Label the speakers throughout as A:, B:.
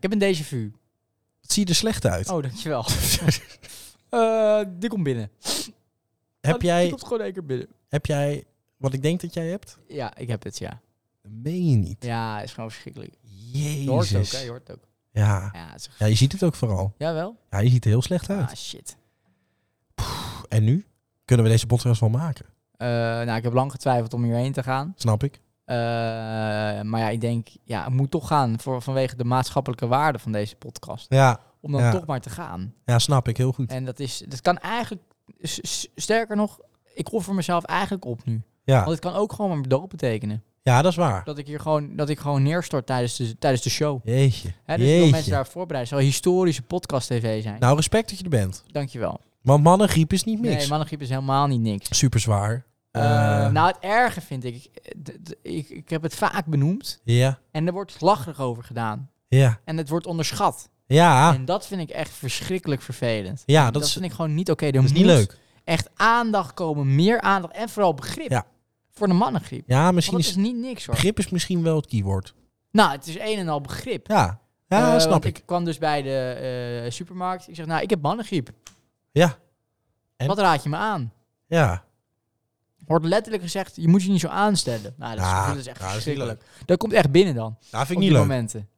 A: heb een déjà vu.
B: Het zie je er slecht uit.
A: Oh, dankjewel. Eh die komt binnen.
B: heb,
A: oh, Die
B: jij,
A: komt gewoon één keer binnen.
B: heb jij wat ik denk dat jij hebt?
A: Ja, ik heb het, ja.
B: Meen je niet.
A: Ja, is gewoon verschrikkelijk. Je hoort het ook,
B: Jezus.
A: hè? Je hoort het ook.
B: ja.
A: Ja, het is echt-
B: ja, je ziet het ook vooral.
A: Jawel?
B: Ja, je ziet er heel slecht uit.
A: Ah, shit.
B: En nu? Kunnen we deze podcast wel maken?
A: Eh, nou, ik heb lang getwijfeld om hierheen te gaan.
B: Snap ik.
A: Eh, maar ja, ik denk, ja, het moet toch gaan voor, vanwege de maatschappelijke waarde van deze podcast.
B: Ja,
A: Om dan
B: Ja.
A: toch maar te gaan.
B: ja snap ik. Heel goed.
A: En dat is, dat kan eigenlijk, s- s- sterker nog, ik offer mezelf eigenlijk op nu.
B: Ja,
A: Want het kan ook gewoon mijn dood betekenen.
B: ja dat is waar.
A: Dat ik hier gewoon, dat ik gewoon neerstort tijdens de, tijdens de show.
B: Jeetje.
A: Hè, dus ik wil mensen
B: Jeetje.
A: daar voorbereiden. Het zal historische podcast-tv zijn.
B: Nou, respect dat je er bent.
A: Dankjewel.
B: Want mannengriep is niet
A: Nee,
B: niks.
A: mannengriep is helemaal niet niks.
B: Super zwaar.
A: Eh,
B: Eh,
A: nou, het erge vind ik, ik, d- d- ik, ik heb het vaak benoemd
B: Ja,
A: en er wordt lacherig over gedaan.
B: ja,
A: En het wordt onderschat.
B: ja.
A: En dat vind ik echt verschrikkelijk vervelend.
B: Ah. Ja,
A: En
B: dat
A: dat,
B: is-
A: vind ik gewoon niet oké. Er
B: Dat is niet
A: moet
B: leuk.
A: echt aandacht komen, meer aandacht en vooral begrip.
B: Ja.
A: Voor de mannengriep.
B: Ja, misschien
A: Want dat
B: is...
A: is niet niks hoor.
B: Begrip is misschien wel het keyword.
A: Nou, het is een en al begrip.
B: Ja, ja
A: Eh,
B: snap
A: want
B: ik.
A: Ik kwam dus bij de eh, supermarkt. Ik zeg, nou, ik heb mannengriep.
B: Ja, En?
A: Wat raad je me aan?
B: ja.
A: Wordt letterlijk gezegd, je moet je niet zo aanstellen. Nou, dat is,
B: Ja,
A: dat is echt
B: ja, dat is niet
A: verschrikkelijk. Dat komt echt binnen dan.
B: Dat vind
A: op
B: ik
A: die
B: niet leuk.
A: momenten.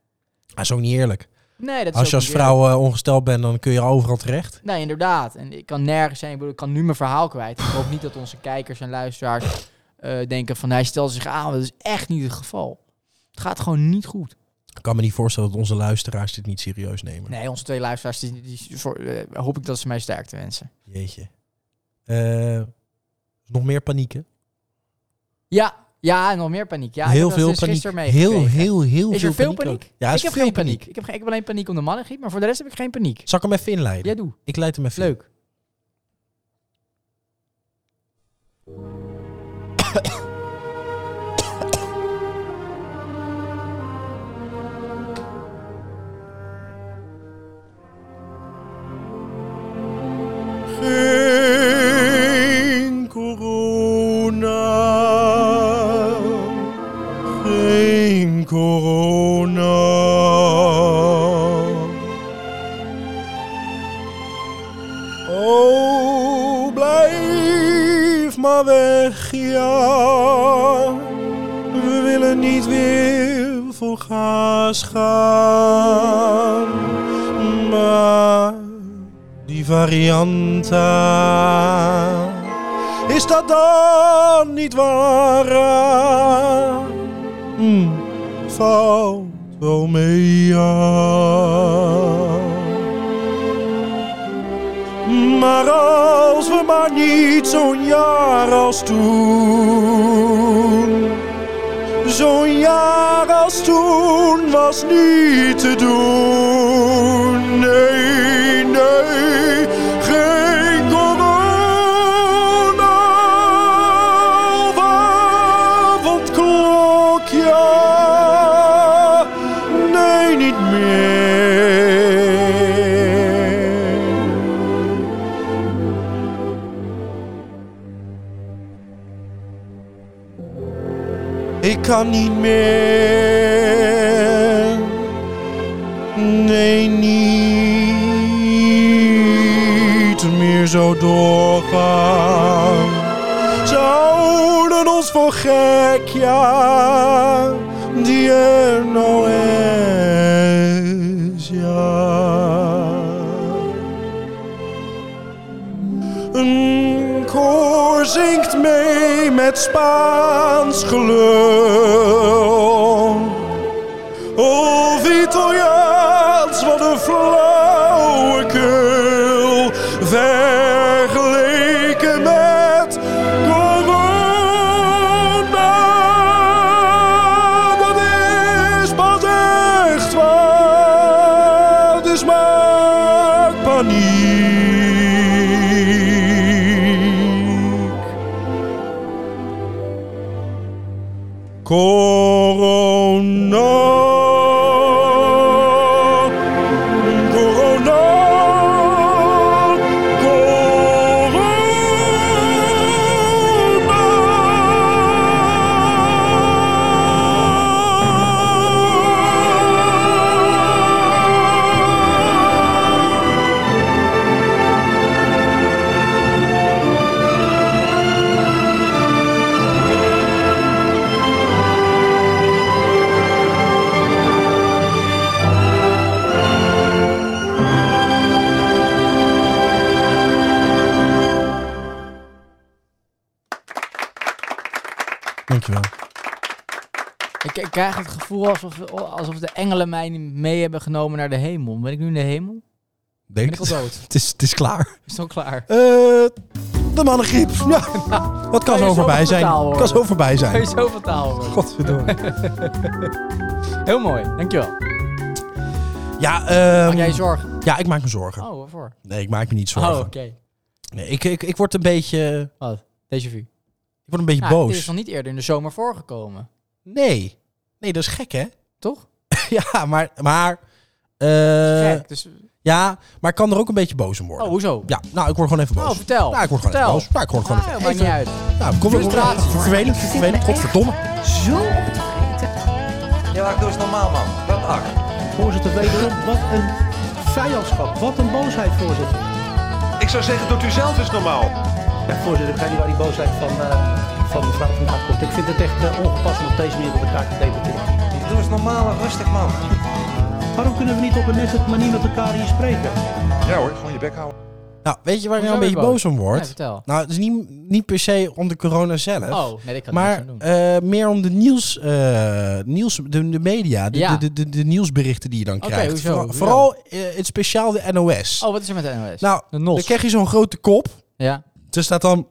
B: Dat is ook niet eerlijk.
A: Nee, dat is
B: Als je
A: ook
B: als
A: niet eerlijk.
B: vrouw eh, ongesteld bent, dan kun je overal terecht.
A: Nee, inderdaad. En ik kan nergens zijn. Ik, bedoel, ik kan nu mijn verhaal kwijt. Ik hoop niet dat onze kijkers en luisteraars eh, denken van... hij stelt zich aan, want dat is echt niet het geval. Het gaat gewoon niet goed.
B: Ik kan me niet voorstellen dat onze luisteraars dit niet serieus nemen.
A: Nee, onze twee luisteraars, die, die, voor- eh, hoop ik dat ze mij sterkte wensen.
B: Jeetje. Eh, nog meer panieken.
A: Ja, ja, en nog meer paniek. Ja, ik heb
B: heel
A: dat
B: veel
A: sinds
B: paniek.
A: gisteren
B: heel,
A: meegekregen.
B: heel, heel
A: Is
B: veel
A: er veel
B: ook.
A: paniek?
B: Ja, er
A: ik
B: is
A: heb
B: veel
A: geen
B: paniek.
A: paniek. Ik heb, ge- ik heb alleen paniek om de mannengriep, maar voor de rest heb ik geen paniek.
B: Zal ik hem even inleiden?
A: Jij doe.
B: Ik leid hem even in.
A: Leuk.
B: Geen corona. Geen corona. Oh, blijf maar weg, ja. We willen niet weer vol gas gaan. Maar die varianta. Is dat dan niet waar? Hm, valt wel mee. ja. Maar als we maar niet zo'n jaar als toen. Zo'n jaar als toen was niet te doen. Nee, nee, geen corona. Avondklokje. Nee, niet meer. Ik kan niet meer. Nee, niet meer zo doorgaan. Ze houden ons voor gek, ja. Die er nou is, ja. Een koor zingt mee met Spaans gelul. Of Italiaans, wat een flauwekul. Vergeleken met corona. Dat is pas echt waar. Het is maar paniek. Corona. Corona. Corona.
C: dankjewel.
A: Ik, ik krijg het gevoel alsof, alsof de engelen mij niet mee hebben genomen naar de hemel. Ben ik nu in de hemel? Ben
C: Denk
A: ik al
C: het.
A: dood?
C: Het is, het is klaar.
A: Is het al klaar?
C: Eh, de mannengriep. Ja, wat kan
A: Kan je
C: zo
A: zo
C: voorbij zijn?
A: vertaal worden?
C: Kan zo voorbij
A: Kun je
C: zijn.
A: zoveel taal horen?
C: Godverdomme.
A: Heel mooi, dankjewel.
C: Ja,
A: Maak
C: ehm,
A: jij je zorgen?
C: ja, ik maak me zorgen.
A: Oh, waarvoor?
C: Nee, ik maak me niet
A: Oh,
C: zorgen.
A: oké.
C: nee, ik, ik, ik word een beetje,
A: Deze vu.
C: ik word een beetje
A: Ja, Het is
C: boos.
A: nog niet eerder in de zomer voorgekomen,
C: Nee. Nee, dat is gek, hè?
A: toch?
C: ja, maar... maar eh,
A: Gek, dus...
C: ja, maar ik kan er ook een beetje boos om worden.
A: Oh, hoezo?
C: Ja, nou, ik word gewoon even
A: Oh,
C: boos.
A: vertel.
C: Ja, ik word gewoon even
A: Vertel.
C: boos. Ja, ik word gewoon
A: Ah,
C: even...
A: maakt niet uit.
C: Nou, kom
A: Frustratie.
C: Vervelend, vervelend. Godverdomme.
D: Zo op te vreten.
E: Ja, maar doe eens normaal, man. Wat acht.
F: Voorzitter, wederom, wat een vijandschap. Wat een boosheid, voorzitter.
E: Ik zou zeggen, doet u zelf eens normaal.
F: Ja, voorzitter, ik ga niet waar die boosheid van, eh, van mevrouw vandaan komt. Ik vind het echt eh, ongepast om op deze manier met elkaar te debatteren.
E: Doe eens normaal en rustig, man.
F: Waarom kunnen we niet op een nette manier met elkaar hier spreken?
E: Ja hoor, gewoon je bek houden.
C: Nou, weet je waar ik
A: Hoezo
C: nou een
A: ben je
C: beetje boos om
A: Ja,
C: word?
A: vertel.
C: Nou, het is niet, niet per se om de corona zelf.
A: Oh, nee, ik kan maar,
C: Maar
A: niks aan doen.
C: eh, meer om de nieuws, eh, nieuws de, de media, de,
A: Ja.
C: de, de, de nieuwsberichten die je dan
A: Oké,
C: krijgt.
A: hoezo?
C: Vooral,
A: Hoezo?
C: vooral, eh, het speciaal de NOS.
A: oh, wat is er met de NOS?
C: Nou,
A: de
C: dan
A: NOS.
C: krijg je zo'n grote kop.
A: Ja?
C: Er staat dan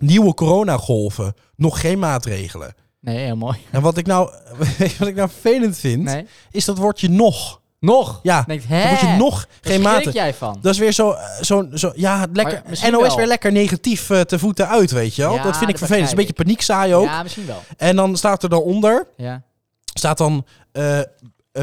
C: nieuwe coronagolven, nog geen maatregelen.
A: Nee, heel mooi.
C: En wat ik nou, weet je wat ik nou vervelend vind,
A: Nee.
C: is dat woordje nog.
A: Nog?
C: Ja,
A: Denkt,
C: dan
A: hè?
C: word je nog geen
A: Daar schrik
C: maatregelen.
A: jij van?
C: Dat is weer zo, eh, zo, zo ja, lekker,
A: Maar misschien
C: NOS
A: wel.
C: weer lekker negatief eh, te voeten uit, weet je wel.
A: Ja,
C: dat vind
A: dat
C: ik vervelend. Het is een
A: begrijp
C: beetje paniekzaai ook.
A: Ja, misschien wel.
C: En dan staat er dan onder,
A: Ja.
C: staat dan... eh, eh,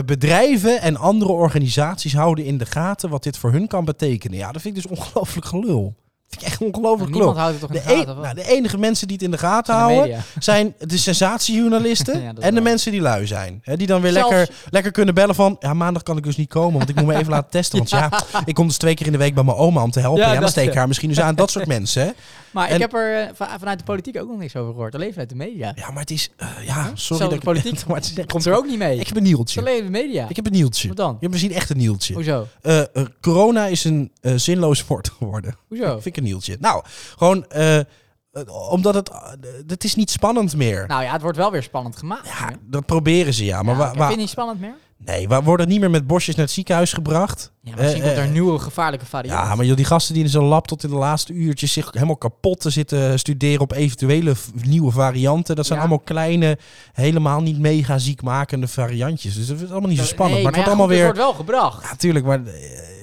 C: bedrijven en andere organisaties houden in de gaten wat dit voor hun kan betekenen. Ja, dat vind ik dus ongelooflijk gelul. Dat vind ik echt ongelooflijk
A: Nou, Niemand
C: gelul.
A: houdt het toch in
C: De,
A: de
C: een-
A: gaten? of
C: nou,
A: wat?
C: de enige mensen die het in de gaten
A: Zijn de
C: houden
A: media.
C: zijn de sensatiejournalisten
A: Ja, dat is
C: en de
A: waar.
C: mensen die lui zijn. Hè, die dan weer
A: Zelfs-
C: lekker, lekker kunnen bellen van... Ja, maandag kan ik dus niet komen, want ik moet me even laten testen. Want ja, ik kom dus twee keer in de week bij mijn oma om te helpen.
A: Ja,
C: Ja, dan
A: dat,
C: steek ik
A: ja.
C: haar misschien dus aan. Dat soort mensen. hè.
A: Maar
C: En-
A: ik heb er eh, va- vanuit de politiek ook nog niks over gehoord. Alleen vanuit de media.
C: Ja, maar het is... eh, ja, sorry
A: Zelfs
C: dat
A: de
C: ik...
A: politiek
C: maar het is-
A: komt er ook niet mee.
C: Ik
A: Het
C: heb een
A: is
C: nieltje.
A: alleen de media.
C: Ik heb een nieltje.
A: Wat dan?
C: Je hebt misschien echt een nieltje.
A: Hoezo?
C: Eh, eh, corona is een eh, zinloos woord geworden.
A: Hoezo?
C: Vind ik een nieltje. Nou, gewoon eh, eh, omdat het... eh, het is niet spannend meer.
A: Nou ja, het wordt wel weer spannend gemaakt.
C: ja,
A: hè?
C: dat proberen ze, ja. Maar
A: Ja,
C: wa- Eh,
A: ik
C: wa-
A: Vind je niet spannend meer?
C: Nee, we worden niet meer met bosjes naar het ziekenhuis gebracht.
A: Ja, maar misschien
C: Eh,
A: komt er
C: eh,
A: een nieuwe gevaarlijke variant.
C: Ja, maar joh, die gasten die in zo'n lab tot in de laatste uurtjes zich helemaal kapot te zitten studeren op eventuele v- nieuwe varianten. Dat zijn
A: Ja.
C: allemaal kleine, helemaal niet mega ziekmakende variantjes. Dus dat is allemaal niet zo
A: Dat-
C: spannend.
A: nee,
C: maar het
A: ja,
C: wordt
A: goed,
C: allemaal weer...
A: Het wordt wel gebracht.
C: Ja, tuurlijk, maar,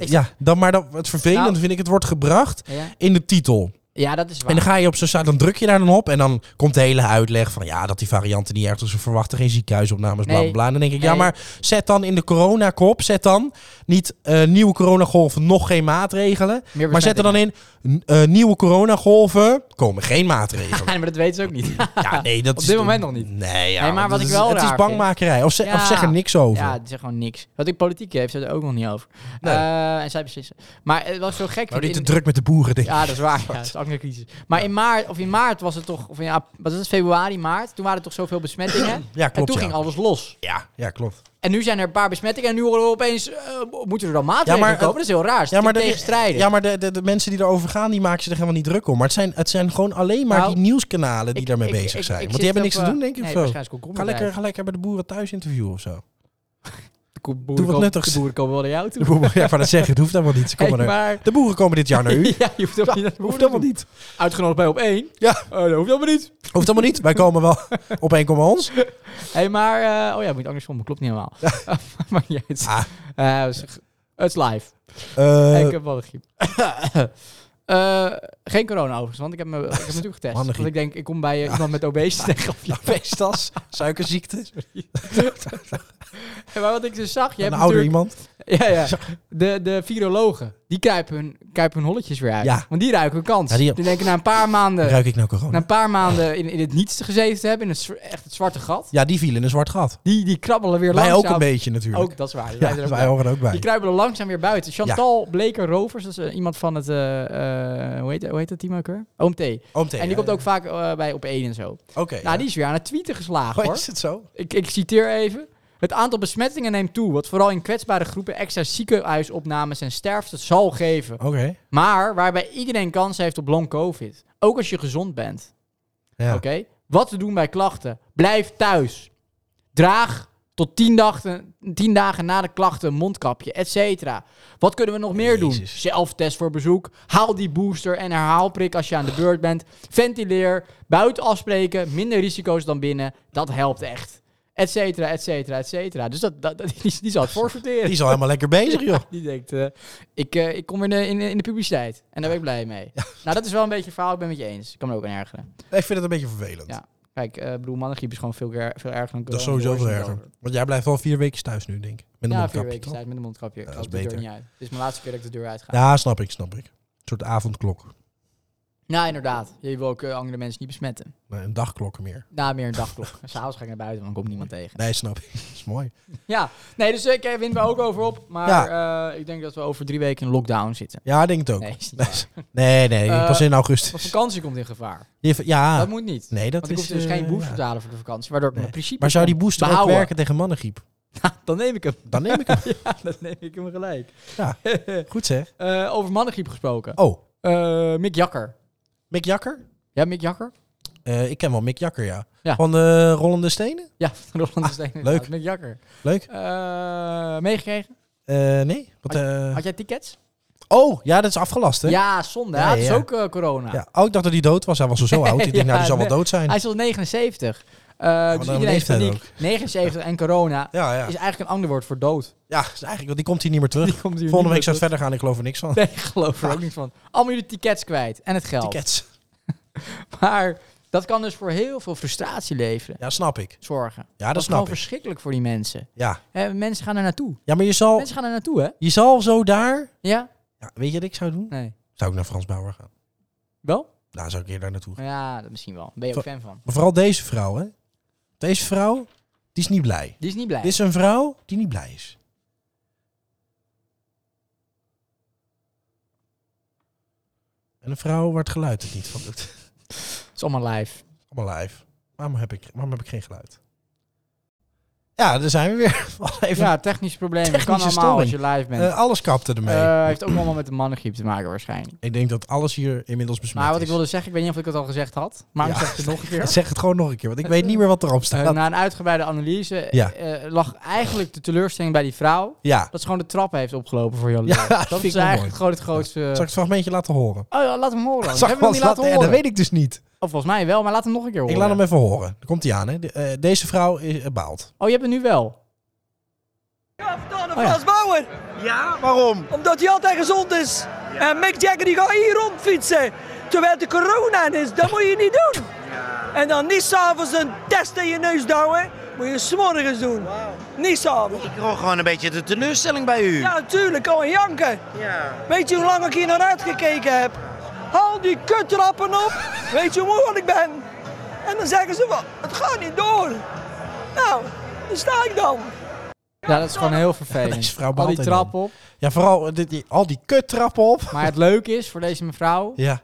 C: eh, ja, dan, maar dat, het vervelend
A: Nou.
C: vind ik, het wordt gebracht
A: Ja,
C: in de titel.
A: ja dat is waar.
C: En dan ga je op zo'n site, dan druk je daar dan op en dan komt de hele uitleg van ja, dat die varianten niet erg, dus we verwachten geen ziekenhuisopnames, bla bla
A: Nee.
C: bla. En dan denk ik, ja,
A: Nee.
C: maar zet dan in de coronakop, zet dan niet eh, nieuwe coronagolven, nog geen maatregelen.
A: Meer
C: Maar zet er dan in, n- eh, nieuwe coronagolven, komen geen maatregelen.
A: Ja, maar dat weten ze ook niet.
C: ja, nee, dat
A: Op
C: is
A: dit
C: de-
A: moment nog niet.
C: Nee, ja,
A: Nee, maar
C: want
A: wat
C: het
A: ik
C: is-
A: wel
C: Het is
A: raar
C: bangmakerij, of, ze- of
A: Ja.
C: zeg er niks over.
A: Ja, het is gewoon niks. Wat ik politiek heeft, ze het ook nog niet over.
C: Nee.
A: Eh, en zij beslissen. Maar het was zo gek.
C: maar
A: vind
C: niet
A: ik
C: te
A: in-
C: druk met de boeren, denk ik.
A: Ja, dat is waar. Ja, dat is ook een crisis. Maar in maart, of in maart was het toch, of in, ap- wat is het, februari, maart, toen waren er toch zoveel besmettingen.
C: Ja,
A: en
C: klopt.
A: toen
C: ja.
A: ging alles los.
C: Ja, ja, klopt.
A: En nu zijn er een paar besmettingen en nu horen we opeens, eh, moeten er dan maatregelen
C: Ja, maar, eh,
A: komen? Dat is heel raar.
C: Ja, maar, de,
A: tegenstrijden.
C: ja, maar de, de, de mensen die erover gaan, die maken zich er helemaal niet druk om. Maar het zijn, het zijn gewoon alleen maar
A: Nou,
C: die nieuwskanalen die
A: Ik-
C: daarmee
A: ik-
C: bezig
A: ik-
C: zijn.
A: ik
C: Want die
A: zit op,
C: hebben niks te
A: eh,
C: doen, denk ik.
A: nee,
C: of zo.
A: waarschijnlijk is het
C: Ga lekker,
A: komkommerbedrijf.
C: ga lekker bij de boeren thuis interviewen of zo.
A: De ko- boeren
C: Doe wat
A: komen-
C: nuttigs.
A: De boeren komen wel naar jou toe.
C: De boeren, ja, van dat zeggen, het hoeft helemaal niet. Ze
A: Hey,
C: komen er-
A: maar...
C: De boeren komen dit jaar naar u.
A: Ja, je hoeft ook niet naar de
C: hoeft
A: boeren
C: helemaal
A: toe.
C: niet.
A: Uitgenodigd bij op één.
C: Ja.
A: Oh, dat hoeft helemaal niet.
C: Hoeft helemaal niet. Wij komen wel. Op één komen ons.
A: hey, maar... eh, oh ja, moet andersom. Klopt niet helemaal. maar niet uit.
C: Ah.
A: Eh, het is- het is live.
C: Eh,
A: ik heb wel een griep. Eh, geen corona overigens, want ik heb me, ik heb me natuurlijk getest.
C: Mannengriep.
A: Want ik denk, ik kom bij eh, iemand met obesitas tegen. of
C: ja,
A: niet.
C: Pestas, suikerziekte,
A: maar wat ik dus zag, je
C: een
A: hebt
C: ouder
A: natuurlijk... eh,
C: iemand.
A: Ja, ja. De, de virologen, die kruipen hun, kruipen hun holletjes weer uit.
C: Ja.
A: Want die ruiken een kans.
C: Ja, die-
A: die... denken na een paar maanden...
C: Ruik ik nou corona?
A: Na een paar maanden in, in het niets gezeten te hebben, in het, zwa- echt het zwarte gat,
C: ja, die viel in een zwart gat.
A: die, die krabbelen weer
C: Wij
A: langzaam.
C: ook een beetje natuurlijk.
A: Ook, dat is waar.
C: ja,
A: Wij er ook
C: wij
A: bij.
C: horen er ook bij.
A: Die kruipen er langzaam weer buiten. Chantal Bleker-Rovers, dat is eh, iemand van het, eh, eh, hoe, heet, hoe heet dat team ook weer? OMT.
C: Oom T,
A: en die
C: ja,
A: komt
C: ja.
A: ook vaak eh, bij op één en zo.
C: Oké. ja.
A: Nou, die is weer aan het tweeten geslagen
C: Oh,
A: hoor.
C: is het zo?
A: Ik, ik citeer even. Het aantal besmettingen neemt toe, wat vooral in kwetsbare groepen extra ziekenhuisopnames en sterfte zal geven.
C: Oké.
A: Maar waarbij iedereen kans heeft op long covid. Ook als je gezond bent.
C: Ja.
A: Oké? Wat te doen bij klachten? Blijf thuis. Draag tot 10 dagen, 10 dagen na de klachten een mondkapje, et cetera. Wat kunnen we nog meer doen?
C: Jezus.
A: Zelftest voor bezoek. Haal die booster en herhaalprik als je aan de beurt bent. Ventileer. Buiten afspreken. Minder risico's dan binnen. Dat helpt echt. Et cetera, et cetera, et cetera. Dus dat, dat, die, die zal het voorsorteren.
C: Die is al helemaal lekker bezig, joh.
A: Die denkt, eh, ik, eh, ik kom in de, in, de- in de publiciteit. En daar ben ik blij mee. Nou, dat is wel een beetje het verhaal. Ik ben het met je eens. Ik kan me er ook aan ergeren.
C: Ik vind het een beetje vervelend.
A: Ja. Kijk, eh ik bedoel, mannengriep is gewoon veel, ger- veel erger dan
C: Dat is
A: corona.
C: sowieso
A: Daar
C: veel
A: hoor je niet
C: erger. Want jij blijft wel vier weken thuis nu, denk ik. Met
A: over.
C: een
A: Ja,
C: mondkapje,
A: vier weken
C: toch?
A: tijd met een mondkapje. ik
C: dat
A: loop
C: is
A: de deur
C: beter.
A: niet uit. Dit is mijn laatste keer dat ik de deur uitga.
C: Ja, snap ik, snap ik. Een soort avondklok.
A: Nou, inderdaad. Je wil ook eh, andere mensen niet besmetten.
C: Nee, een dagklok meer.
A: Na meer een dagklok. S'avonds ga ik naar buiten, want dan komt niemand tegen.
C: Nee, snap ik. Dat is mooi.
A: Ja, nee, dus ik eh, win we ook over op. Maar eh, ik denk dat we over drie weken in lockdown zitten.
C: Ja, ik denk het ook.
A: Nee, is niet waar.
C: Nee, nee,
A: Eh,
C: pas in
A: Mijn
C: augustus.
A: vakantie komt in gevaar.
C: Je v- Ja,
A: Dat moet niet.
C: nee, Ah. dat
A: Want ik
C: is...
A: hoef dus
C: eh,
A: geen booster
C: ja.
A: te halen voor de vakantie, waardoor ik
C: Nee.
A: mijn principe
C: Maar zou die
A: kan
C: booster ook
A: behouden.
C: werken tegen mannengriep?
A: Dan neem ik hem.
C: Dan neem ik hem.
A: Ja, dan neem ik hem gelijk.
C: Ja. Goed zeg.
A: Eh, over mannengriep gesproken.
C: Oh,
A: Eh, Mick Jakker.
C: Mick Jakker?
A: Ja, Mick Jakker?
C: Eh, ik ken wel Mick Jakker, ja.
A: Ja.
C: Van de Rollende Stenen?
A: Ja, van Roland de Steen. inderdaad.
C: Ah, leuk.
A: Mick Jakker.
C: Leuk.
A: Eh, meegekregen?
C: Eh, nee. Wat, eh,
A: Had jij tickets?
C: Oh, ja, dat is afgelast, hè?
A: Ja, zonde. hè?
C: Ja,
A: dat is
C: ja.
A: ook eh, corona.
C: Ja. Oh, ik dacht dat hij dood was. Hij was al zo oud. Ik denk, nou, die zal wel
A: nee.
C: dood zijn.
A: Hij is al 79. Eh, dus
C: dan
A: iedereen is
C: leeft hij
A: paniek. 79 en corona
C: Ja, ja.
A: is eigenlijk een ander woord voor dood.
C: Ja, is eigenlijk, want die komt hier niet meer terug.
A: Die komt hier
C: Volgende
A: niet
C: week
A: meer
C: zou het verder gaan. Ik geloof er niks van.
A: terug. Nee, ik geloof er ook niet van. Allemaal jullie tickets kwijt. En het geld.
C: Tickets.
A: Maar dat kan dus voor heel veel frustratie leveren.
C: Ja, snap ik.
A: Zorgen.
C: Ja,
A: dat
C: dat
A: is gewoon
C: snap ik.
A: verschrikkelijk voor die mensen.
C: Ja.
A: Hè, mensen gaan er naartoe.
C: ja, maar je zal,
A: Mensen gaan er naartoe, hè?
C: je zal zo daar...
A: Ja?
C: Ja, weet je wat ik zou doen?
A: Nee.
C: Zou ik naar Frans Bauer gaan?
A: Wel?
C: Daar zou ik eerder naartoe gaan.
A: Ja, dat misschien wel. Ben je ook fan van.
C: Maar vooral deze vrouw, hè? Deze vrouw, die is niet blij.
A: Die is niet blij.
C: Dit is een vrouw die niet blij is. En een vrouw waar het geluid het niet van doet.
A: Het is allemaal live.
C: Allemaal live. Waarom heb ik, waarom heb ik geen geluid? Ja, daar zijn we weer. We hadden Even,
A: Ja, technisch probleem. Dat kan allemaal
C: Technische
A: als je
C: storing.
A: live bent.
C: Eh, alles kapte ermee.
A: Eh, heeft ook allemaal met de mannengriep te maken waarschijnlijk.
C: ik denk dat alles hier inmiddels besmet
A: Maar wat
C: is.
A: ik wilde zeggen, ik weet niet of ik het al gezegd had. Maar
C: Ja.
A: ik zeg het nog een keer.
C: Zeg het gewoon nog een keer, want ik weet niet meer wat erop
A: Eh,
C: staat.
A: na een uitgebreide analyse
C: Ja.
A: eh, lag eigenlijk de teleurstelling bij die vrouw.
C: ja,
A: Dat ze gewoon de trap heeft opgelopen voor Jolanda.
C: Ja, dat
A: dat
C: vind
A: is
C: ik wel
A: eigenlijk gewoon het grootste...
C: zal ik het fragmentje laten horen?
A: Oh ja, laat hem horen. dan. Hebben we
C: Zal ik
A: hem niet
C: wel eens
A: laten horen? Oh,
C: Nee, dat weet ik dus niet.
A: Of volgens mij wel, maar laat hem nog een keer horen.
C: Ik laat hem even horen. Daar komt hij aan, hè. De- eh, deze vrouw is, eh, baalt.
A: Oh, je hebt hem nu wel.
G: Dan
A: ja.
G: Frans Bauer. Ja, waarom? Omdat hij altijd gezond is. En Mick Jagger die gaat hier rondfietsen. Terwijl de corona in is. Dat moet je niet doen. En dan niet s'avonds een test in je neus douwen. Moet je s'morgens doen. Niet s'avonds.
H: Ik hoor gewoon een beetje de teleurstelling bij u.
G: Ja, tuurlijk. Kan je janken. Weet je hoe lang ik hier naar uitgekeken heb? Haal die kuttrappen op. Weet je hoe moeilijk ik ben? En dan zeggen ze, "Wat, het gaat niet door. Nou, daar sta ik dan.
A: Ja, dat is gewoon heel
C: Deze
A: vervelend.
C: vrouw
A: Al die
C: baalt enorm.
A: trap op.
C: Ja, vooral eh, dit, die- al die kuttrappen op.
A: Maar het leuke is voor deze mevrouw,
C: Ja.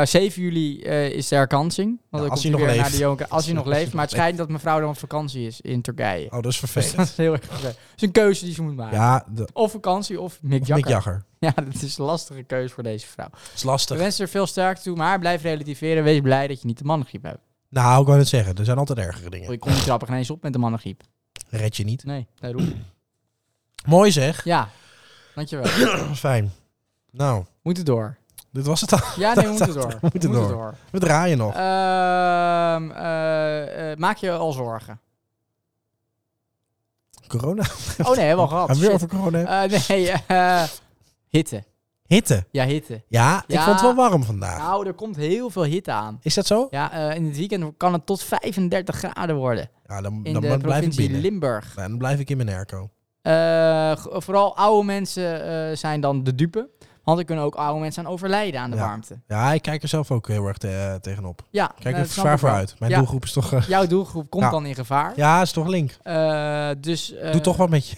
A: eh, 7 juli eh, is de herkansing. Want dan
C: Nou,
A: komt
C: als hij
A: hij
C: nog
A: weer
C: leeft.
A: naar de Jonker. Als hij nog
C: Als hij
A: leeft.
C: nog
A: Maar het schijnt dat mevrouw dan op vakantie is in Turkije.
C: Oh, dat
A: Dus
C: is
A: dat
C: vervelend.
A: is heel erg vervelend. Het is een keuze die ze moet maken.
C: Ja, de,
A: Of vakantie of Mick
C: of Mick
A: Jagger.
C: Jagger.
A: Ja, dat is een lastige keuze voor deze vrouw.
C: Dat is
A: We
C: lastig.
A: wensen er veel sterkte toe, maar blijf relativeren. Wees blij dat je niet de mannengriep hebt.
C: Nou, ik wou het zeggen. Er zijn altijd ergere dingen.
A: Ik kom die trappen ineens op met de mannengriep.
C: Red je niet.
A: Nee, daarom.
C: Mooi zeg.
A: Ja, dankjewel.
C: Fijn. Nou,
A: Moeten door.
C: dit was het al.
A: Ja, nee, we moeten door.
C: We moeten door. We draaien nog.
A: Ehm, eh, eh, maak je al zorgen?
C: Corona.
A: Oh nee, hebben we al gehad.
C: Gaan we weer
A: Shit.
C: over corona hebben?
A: Eh, nee, eh, hitte.
C: Hitte.
A: Ja, hitte.
C: Ja, ik
A: Eh. Ja.
C: vond het wel warm vandaag.
A: Nou, er komt heel veel hitte aan.
C: Is dat zo?
A: Ja, eh, in het weekend kan het tot 35 graden worden.
C: Ja, dan,
A: In
C: dan,
A: de
C: blijf ik
A: provincie
C: binnen.
A: Limburg.
C: Ja, dan blijf ik in mijn airco.
A: Eh, g- vooral oude mensen eh, zijn dan de dupe. Want er kunnen ook oude mensen aan overlijden aan de
C: Ja.
A: warmte.
C: Ja, ik kijk er zelf ook heel erg te- eh, tegenop.
A: Ja,
C: Kijk
A: nou,
C: er
A: dat snap
C: zwaar
A: ik wel.
C: voor uit. Mijn
A: Ja.
C: doelgroep is toch... eh,
A: Jouw doelgroep komt
C: Ja.
A: dan in gevaar.
C: ja, is toch link.
A: Eh, dus, eh,
C: Doe toch wat met je.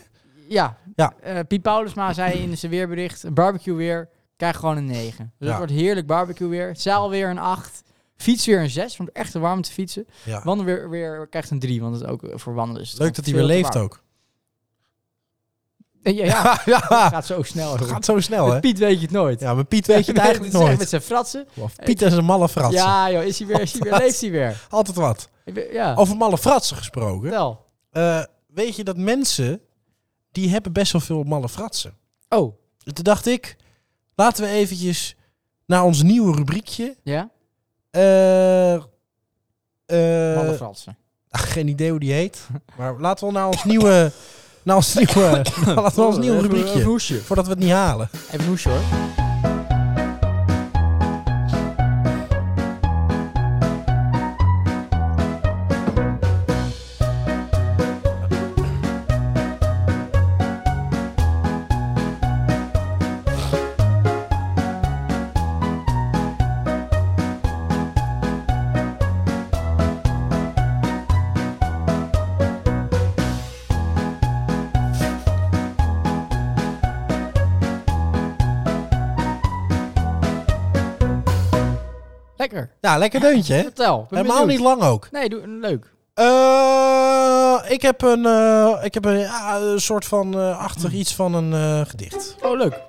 A: Ja.
C: Ja.
A: Eh, Piet Paulusma zei in zijn weerbericht: barbecue weer, krijg gewoon een 9. Dus het
C: Ja.
A: wordt heerlijk barbecue weer. Zeil weer een 8. Fiets weer een 6, want echt te warm te fietsen.
C: Ja.
A: Wandel weer, weer krijgt een 3, want het is ook eh, voor wandelen. Is het
C: Leuk
A: gewoon
C: dat hij weer
A: veel te
C: leeft
A: warm.
C: ook.
A: Ja, ja. het
C: ja,
A: gaat zo snel.
C: het
A: hoor.
C: gaat zo snel, hè?
A: Piet weet je het nooit.
C: Ja, maar Piet weet je het eigenlijk
A: Met-
C: nooit.
A: Met zijn fratsen.
C: Of Piet is een malle fratsen.
A: Ja, joh, is hij weer, is hij weer, leeft hij weer.
C: Altijd wat.
A: Ik ben- Ja,
C: Over malle fratsen gesproken.
A: wel.
C: Eh, weet je dat mensen, die hebben best wel veel malle fratsen.
A: Oh,
C: En Toen dacht ik, laten we eventjes naar ons nieuwe rubriekje.
A: ja?
C: Eh, eh,
A: Malle fratsen.
C: ach, geen idee hoe die heet. Maar laten we naar ons nieuwe, naar ons nieuwe, laten we naar ons nieuwe
A: Even- Even
C: rubriekje.
A: hoesje.
C: Voordat we het niet halen.
A: Even hoesje hoor. Lekker.
C: Ja, lekker deuntje, hè?
A: Vertel. ben
C: Helemaal
A: benieuwd.
C: niet lang ook.
A: Nee, doe, leuk.
C: Eh, ik heb een, eh, ik heb een, ja, een soort van eh, achtig
A: Hmm.
C: iets van een eh, gedicht.
A: Oh, leuk.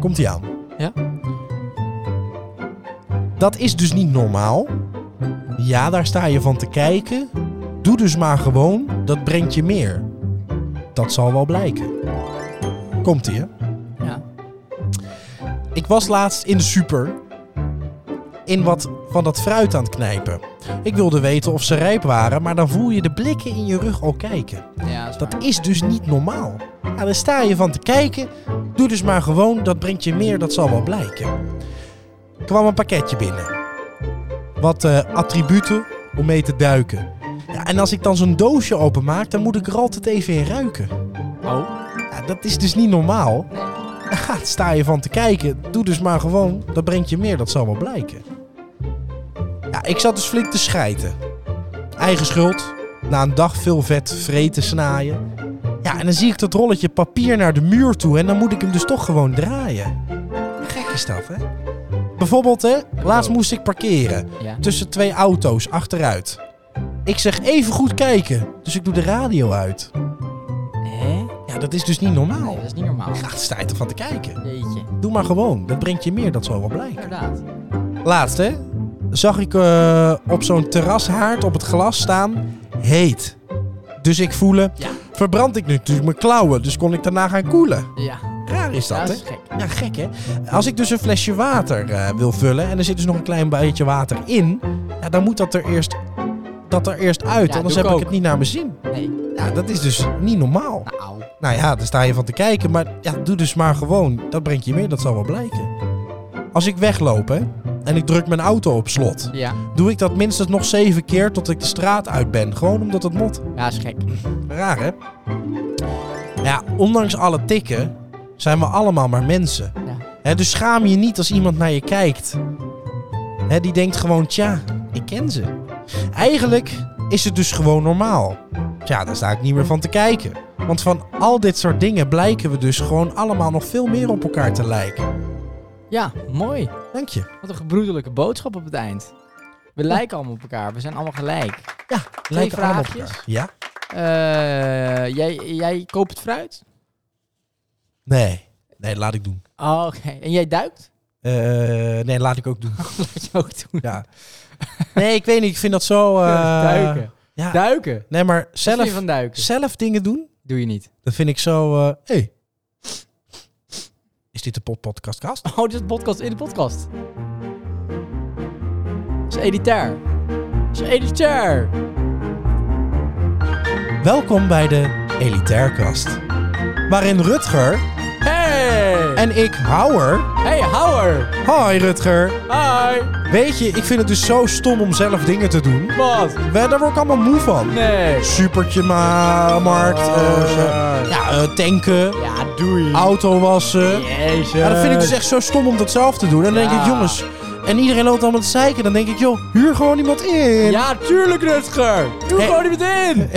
C: Komt ie aan.
A: Ja?
C: Dat is dus niet normaal. Ja, daar sta je van te kijken. Doe dus maar gewoon, dat brengt je meer. Dat zal wel blijken. Komt ie, hè?
A: Ja.
C: Ik was laatst in de super in wat van dat fruit aan het knijpen. Ik wilde weten of ze rijp waren, maar dan voel je de blikken in je rug al kijken.
A: Ja, is
C: Dat
A: waar.
C: is dus niet normaal. Nou, daar sta je van te kijken. Doe dus maar gewoon, dat brengt je meer, dat zal wel blijken. Er kwam een pakketje binnen. Wat eh, attributen om mee te duiken. Ja, en als ik dan zo'n doosje openmaak, dan moet ik er altijd even in ruiken.
A: Oh.
C: Ja, dat is dus niet normaal. Ja, daar sta je van te kijken. Doe dus maar gewoon, dat brengt je meer, dat zal wel blijken. Ja, ik zat dus flink te schijten. Eigen schuld. Na een dag veel vet vreten snaaien. Ja, en dan zie ik dat rolletje papier naar de muur toe en dan moet ik hem dus toch gewoon draaien. Gek is dat, hè? Bijvoorbeeld, hè, laatst moest ik parkeren
A: Ja.
C: tussen twee auto's achteruit. Ik zeg even goed kijken, dus ik doe de radio uit.
A: Hè?
C: Ja, dat is dus niet normaal.
A: Nee, dat is niet normaal.
C: Ach, sta je ervan te kijken.
A: Jeetje.
C: Doe maar gewoon. Dat brengt je meer, dat zal wel blijken.
A: Inderdaad.
C: Laatst, hè? Zag ik eh, op zo'n terrashaard op het glas staan. Heet. Dus ik voelen.
A: Ja.
C: Verbrand ik nu natuurlijk mijn klauwen. Dus kon ik daarna gaan koelen.
A: Ja.
C: Raar is dat,
A: Ja,
C: hè?
A: dat is gek.
C: Ja, gek hè? Als ik dus een flesje water eh, wil vullen en er zit dus nog een klein beetje water in, ja, dan moet dat er eerst, dat er eerst uit,
A: Ja,
C: anders
A: doe
C: heb
A: ik
C: ik
A: ook.
C: het niet naar mijn zin.
A: Nee.
C: Ja, dat is dus niet normaal.
A: Nou.
C: Nou ja, daar sta je van te kijken. Maar ja, doe dus maar gewoon. Dat brengt je meer, dat zal wel blijken. Als ik wegloop hè, en ik druk mijn auto op slot,
A: Ja.
C: doe ik dat minstens nog zeven keer tot ik de straat uit ben. Gewoon omdat het mot.
A: Ja, is gek.
C: Raar hè? Ja, ondanks alle tikken zijn we allemaal maar mensen.
A: Ja.
C: Hè, dus schaam je niet als iemand naar je kijkt. Hè, die denkt gewoon, tja, ik ken ze. Eigenlijk is het dus gewoon normaal. Tja, daar sta ik niet meer van te kijken. Want van al dit soort dingen blijken we dus gewoon allemaal nog veel meer op elkaar te lijken.
A: Ja, mooi.
C: Dank je.
A: Wat een gebroedelijke boodschap op het eind. We lijken allemaal op elkaar. We zijn allemaal gelijk.
C: Ja, lijken allemaal op
A: vraagjes.
C: elkaar. Ja?
A: Eh, jij, jij koopt het fruit?
C: Nee. Nee, laat ik doen.
A: Oh, oké. En jij duikt?
C: Eh, nee, laat ik ook doen.
A: Dat je ook doen.
C: Ja. Nee, ik weet niet. Ik vind dat zo... eh,
A: duiken.
C: Ja.
A: Duiken. Wat
C: Nee, maar
A: vind je
C: zelf,
A: van duiken?
C: zelf dingen doen,
A: Doe je niet.
C: dat vind ik zo... eh, hey. Is dit de pod- podcastkast?
A: Oh, dit is een podcast in de podcast. Dat is editair. Dat is editair.
C: Oh, Welkom bij de Elitairkast. Waarin Rutger
A: Hey!
C: en ik, Houwer...
A: Hey, Howard!
C: Hi Rutger.
A: Hi!
C: Weet je, ik vind het dus zo stom om zelf dingen te doen.
A: Wat?
C: We- Daar word ik allemaal moe van.
A: Nee.
C: Supertje ma- markt, eh,
A: zo.
C: ja, eh, tanken,
A: Ja, doei.
C: auto wassen.
A: Jezus.
C: Ja, dat vind ik dus echt zo stom om dat zelf te doen. En dan denk ik,
A: Ja.
C: jongens, en iedereen loopt allemaal te zeiken. Dan denk ik, joh, huur gewoon iemand in.
A: Ja, tuurlijk, Rutger! Doe
C: Hey.
A: gewoon niet in!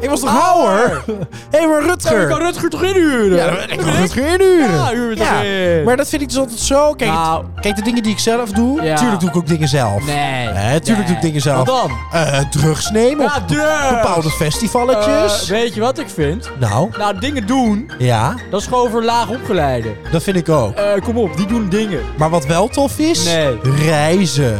C: Ik was toch Houwer?
A: Oh.
C: Hé, maar Rutger.
A: Ik kan Rutger toch inhuren?
C: Ja, ik wil Rutger inhuren.
A: Ja, huur het
C: Ja,
A: erin.
C: Maar dat vind ik dus altijd zo. Kijk,
A: Nou.
C: kijk, de dingen die ik zelf doe.
A: Ja.
C: Tuurlijk doe ik ook dingen zelf.
A: Nee.
C: Hè, tuurlijk
A: Nee.
C: doe ik dingen zelf.
A: Wat dan?
C: Eh, drugs nemen.
A: Ja,
C: op
A: drugs.
C: Bepaalde festivaletjes.
A: Eh, weet je wat ik vind?
C: nou,
A: Nou, dingen doen,
C: ja,
A: dat is gewoon voor laag opgeleiden.
C: dat vind ik ook.
A: Eh, kom op, die doen dingen.
C: Maar wat wel tof is,
A: Eh, Nee.
C: reizen.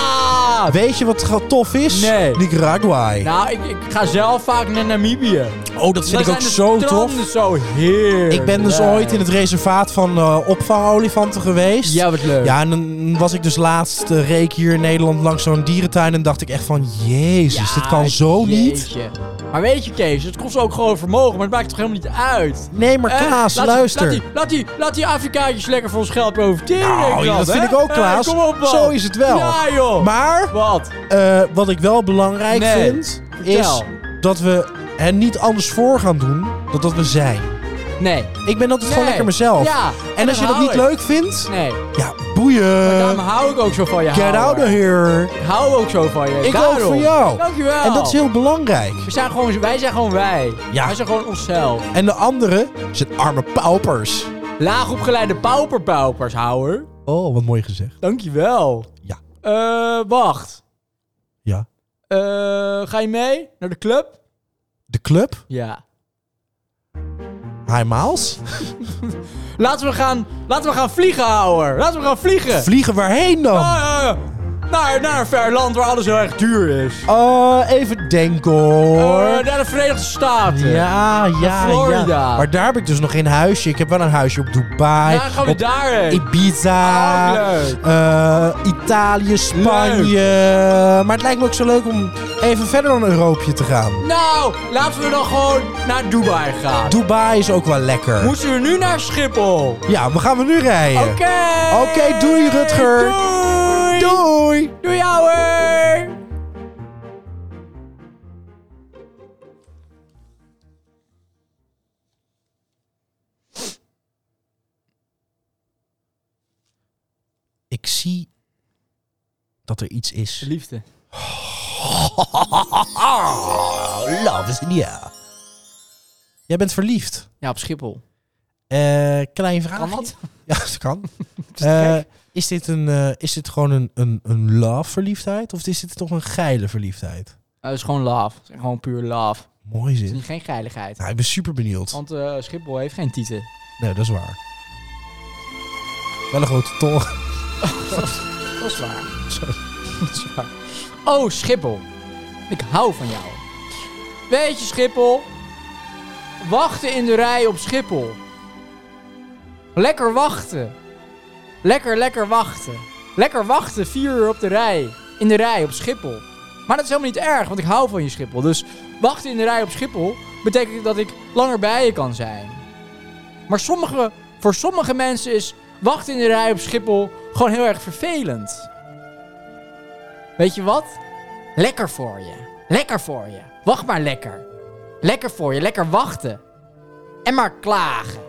A: Ja!
C: Weet je wat gewoon tof is?
A: Nee.
C: Nicaragua.
A: Nou, ik, ik ga zelf vaak naar Namibië.
C: oh, dat vind
A: Dan
C: ik ook
A: zijn de
C: zo tof.
A: stranden zo heerlijk.
C: Ik ben dus ooit in het reservaat van eh opvangolifanten geweest.
A: Ja, wat leuk.
C: Ja, en dan was ik dus laatst eh, reek hier in Nederland langs zo'n dierentuin. En dacht ik echt van, jezus,
A: Ja,
C: dit kan zo niet.
A: jeetje. Maar weet je, Kees, het kost ook gewoon vermogen, maar het maakt toch helemaal niet uit.
C: Nee, maar
A: Eh,
C: Klaas,
A: laat die-
C: luister.
A: laat die, laat, die, laat die Afrikaantjes lekker voor ons geld profiteren. denk
C: nou,
A: ik
C: ja, dat
A: dan,
C: vind
A: hè?
C: ik ook,
A: Eh,
C: Klaas.
A: kom op, man.
C: zo is het wel.
A: Ja, joh.
C: Maar,
A: Wat?
C: eh, wat ik wel belangrijk
A: Nee,
C: vind, is
A: vertel.
C: dat we er niet anders voor gaan doen dan dat we zijn.
A: Nee.
C: Ik ben altijd
A: Nee.
C: gewoon lekker mezelf.
A: Ja,
C: en als je dat
A: hou
C: niet
A: ik.
C: leuk vindt,
A: Nee.
C: ja,
A: Maar daarom
C: boeien.
A: hou ik Nou. ook zo van je.
C: Eh, Get
A: Howard.
C: out of here.
A: Ik hou ook zo van je.
C: Ik
A: daarom.
C: ook voor jou.
A: Dankjewel.
C: En dat is heel belangrijk.
A: We zijn gewoon, wij zijn gewoon wij.
C: Ja.
A: Wij zijn gewoon onszelf.
C: En de anderen zijn arme paupers.
A: Laagopgeleide pauperpaupers, houwer.
C: Oh, wat mooi gezegd.
A: Dankjewel.
C: Ja.
A: Eh, wacht.
C: Ja.
A: Eh, ga je mee naar de club?
C: De club.
A: Ja.
C: Hi Miles.
A: Laten we gaan, laten we gaan vliegen, houwer. Laten we gaan vliegen.
C: Vliegen waarheen dan?
A: Ah, ja, ja. naar, naar een ver land waar alles heel erg duur is.
C: Oh, even denken
A: Eh,
C: hoor.
A: naar de Verenigde Staten.
C: Ja, ja,
A: Florida.
C: ja. Maar daar heb ik dus nog geen huisje. Ik heb wel een huisje op Dubai.
A: Ja, dan gaan we
C: op
A: daarheen.
C: Ibiza.
A: Oh, leuk.
C: eh, Italië, Spanje. Maar het lijkt me ook zo leuk om even verder dan Euroopje te gaan.
A: Nou, laten we dan gewoon naar Dubai gaan.
C: Dubai is ook wel lekker.
A: Moeten we nu naar Schiphol?
C: Ja, we gaan we nu rijden.
A: Oké.
C: Oké, doei, Rutger.
A: Doei.
C: Doei.
A: Doei, ouwe.
C: Ik zie dat er iets is.
A: Liefde.
C: Love is in the air. Jij bent verliefd.
A: Ja, op Schiphol.
C: Eh, klein vraag.
A: Kan dat?
C: Ja, dat kan. Eh, is, dit een, eh, is dit gewoon een, een, een love-verliefdheid? Of is dit toch een geile verliefdheid?
A: Het Eh, is gewoon love. Het is gewoon puur love.
C: Mooi
A: Het is
C: zin.
A: niet geen geiligheid.
C: Nou, ik ben super benieuwd.
A: Want eh, Schiphol heeft geen tieten.
C: Nee, dat is waar. Wel een grote tol.
A: Dat is waar. Dat is waar. Oh, Schiphol. Ik hou van jou. Weet je, Schiphol? Wachten in de rij op Schiphol. Lekker wachten. Lekker, lekker wachten. Lekker wachten vier uur op de rij. In de rij op Schiphol. Maar dat is helemaal niet erg, want ik hou van je Schiphol. Dus wachten in de rij op Schiphol betekent dat ik langer bij je kan zijn. Maar sommige, voor sommige mensen is wachten in de rij op Schiphol gewoon heel erg vervelend. Weet je wat? Lekker voor je. Lekker voor je. Wacht maar lekker. Lekker voor je. Lekker wachten. En maar klagen.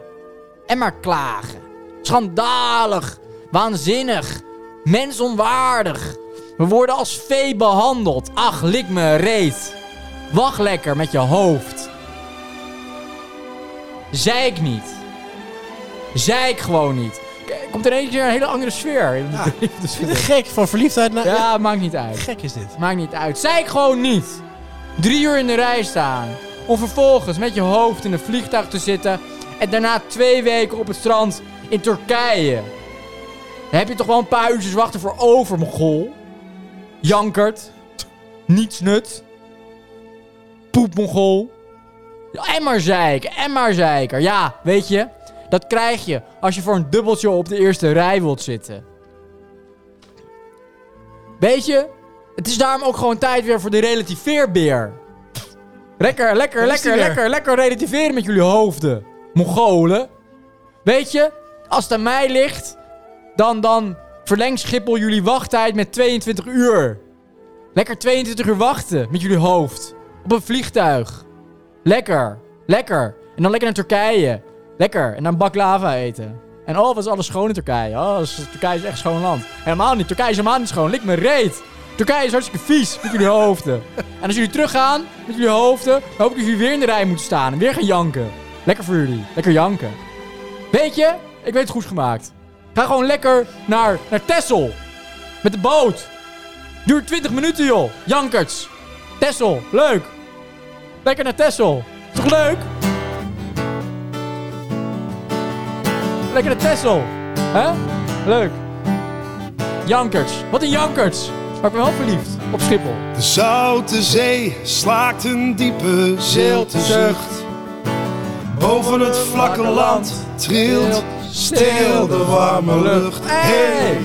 A: En maar klagen. Schandalig. Waanzinnig. Mensonwaardig. We worden als vee behandeld. Ach, lik me reet. Wacht lekker met je hoofd. Zei ik niet. Zei ik gewoon niet. K- Komt er ineens weer een hele andere sfeer. in.
C: Ja, gek van verliefdheid naar...
A: Ja, maakt niet uit.
C: Gek is dit.
A: Maakt niet uit. Zei ik gewoon niet. Drie uur in de rij staan. Om vervolgens met je hoofd in een vliegtuig te zitten. En daarna twee weken op het strand in Turkije. Dan heb je toch wel een paar uurtjes wachten voor over, Mongool. Jankert. Niets nut. Poep, Mongool. Ja, En maar zeiken, en maar zeiker. Ja, weet je, dat krijg je als je voor een dubbeltje op de eerste rij wilt zitten. Weet je, het is daarom ook gewoon tijd weer voor de relativeerbeer. Lekker, lekker,
C: Daar is
A: lekker,
C: hij weer.
A: lekker, lekker relativeren met jullie hoofden. Mongolen. Weet je, als het aan mij ligt, dan, dan verlengt Schiphol jullie wachttijd met 22 uur. Lekker 22 uur wachten met jullie hoofd. Op een vliegtuig. Lekker. Lekker. En dan lekker naar Turkije. Lekker. En dan baklava eten. En oh, wat is alles schoon in Turkije. Oh, is- Turkije is echt een schoon land. Helemaal niet. Turkije is helemaal niet schoon. Lik me reet. Turkije is hartstikke vies met jullie hoofden. En als jullie teruggaan met jullie hoofden, dan hoop ik dat jullie weer in de rij moeten staan en weer gaan janken. Lekker voor jullie. Lekker janken. Weet je, ik weet het goed gemaakt. Ga gewoon lekker naar, naar Tessel. Met de boot. Duurt 20 minuten, joh. Jankerts. Tessel, leuk. Lekker naar Tessel. Toch leuk? Lekker naar Tessel. Hè? Leuk. Jankerts. Wat een Jankerts. Maar ik ben wel verliefd op Schiphol.
B: De zoute zee slaakt een diepe zilte zucht. Boven het vlakke land trilt stil de warme lucht. Hey,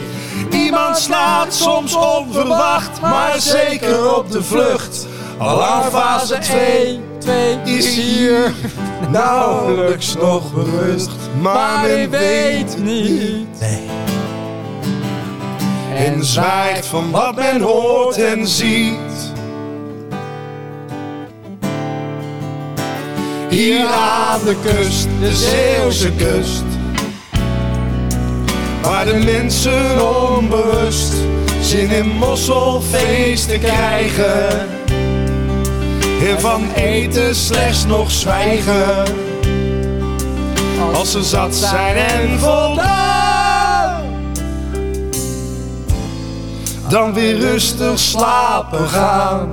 B: iemand slaat soms onverwacht, maar zeker op de vlucht. Alarmfase 2
A: 2
B: is hier nauwelijks nog berust, maar men weet niet. en zwijgt van wat men hoort en ziet. Hier aan de kust, de Zeeuwse kust, waar de mensen onbewust zin in mosselfeesten krijgen. En van eten slechts nog zwijgen, als ze zat zijn en voldaan dan weer rustig slapen gaan.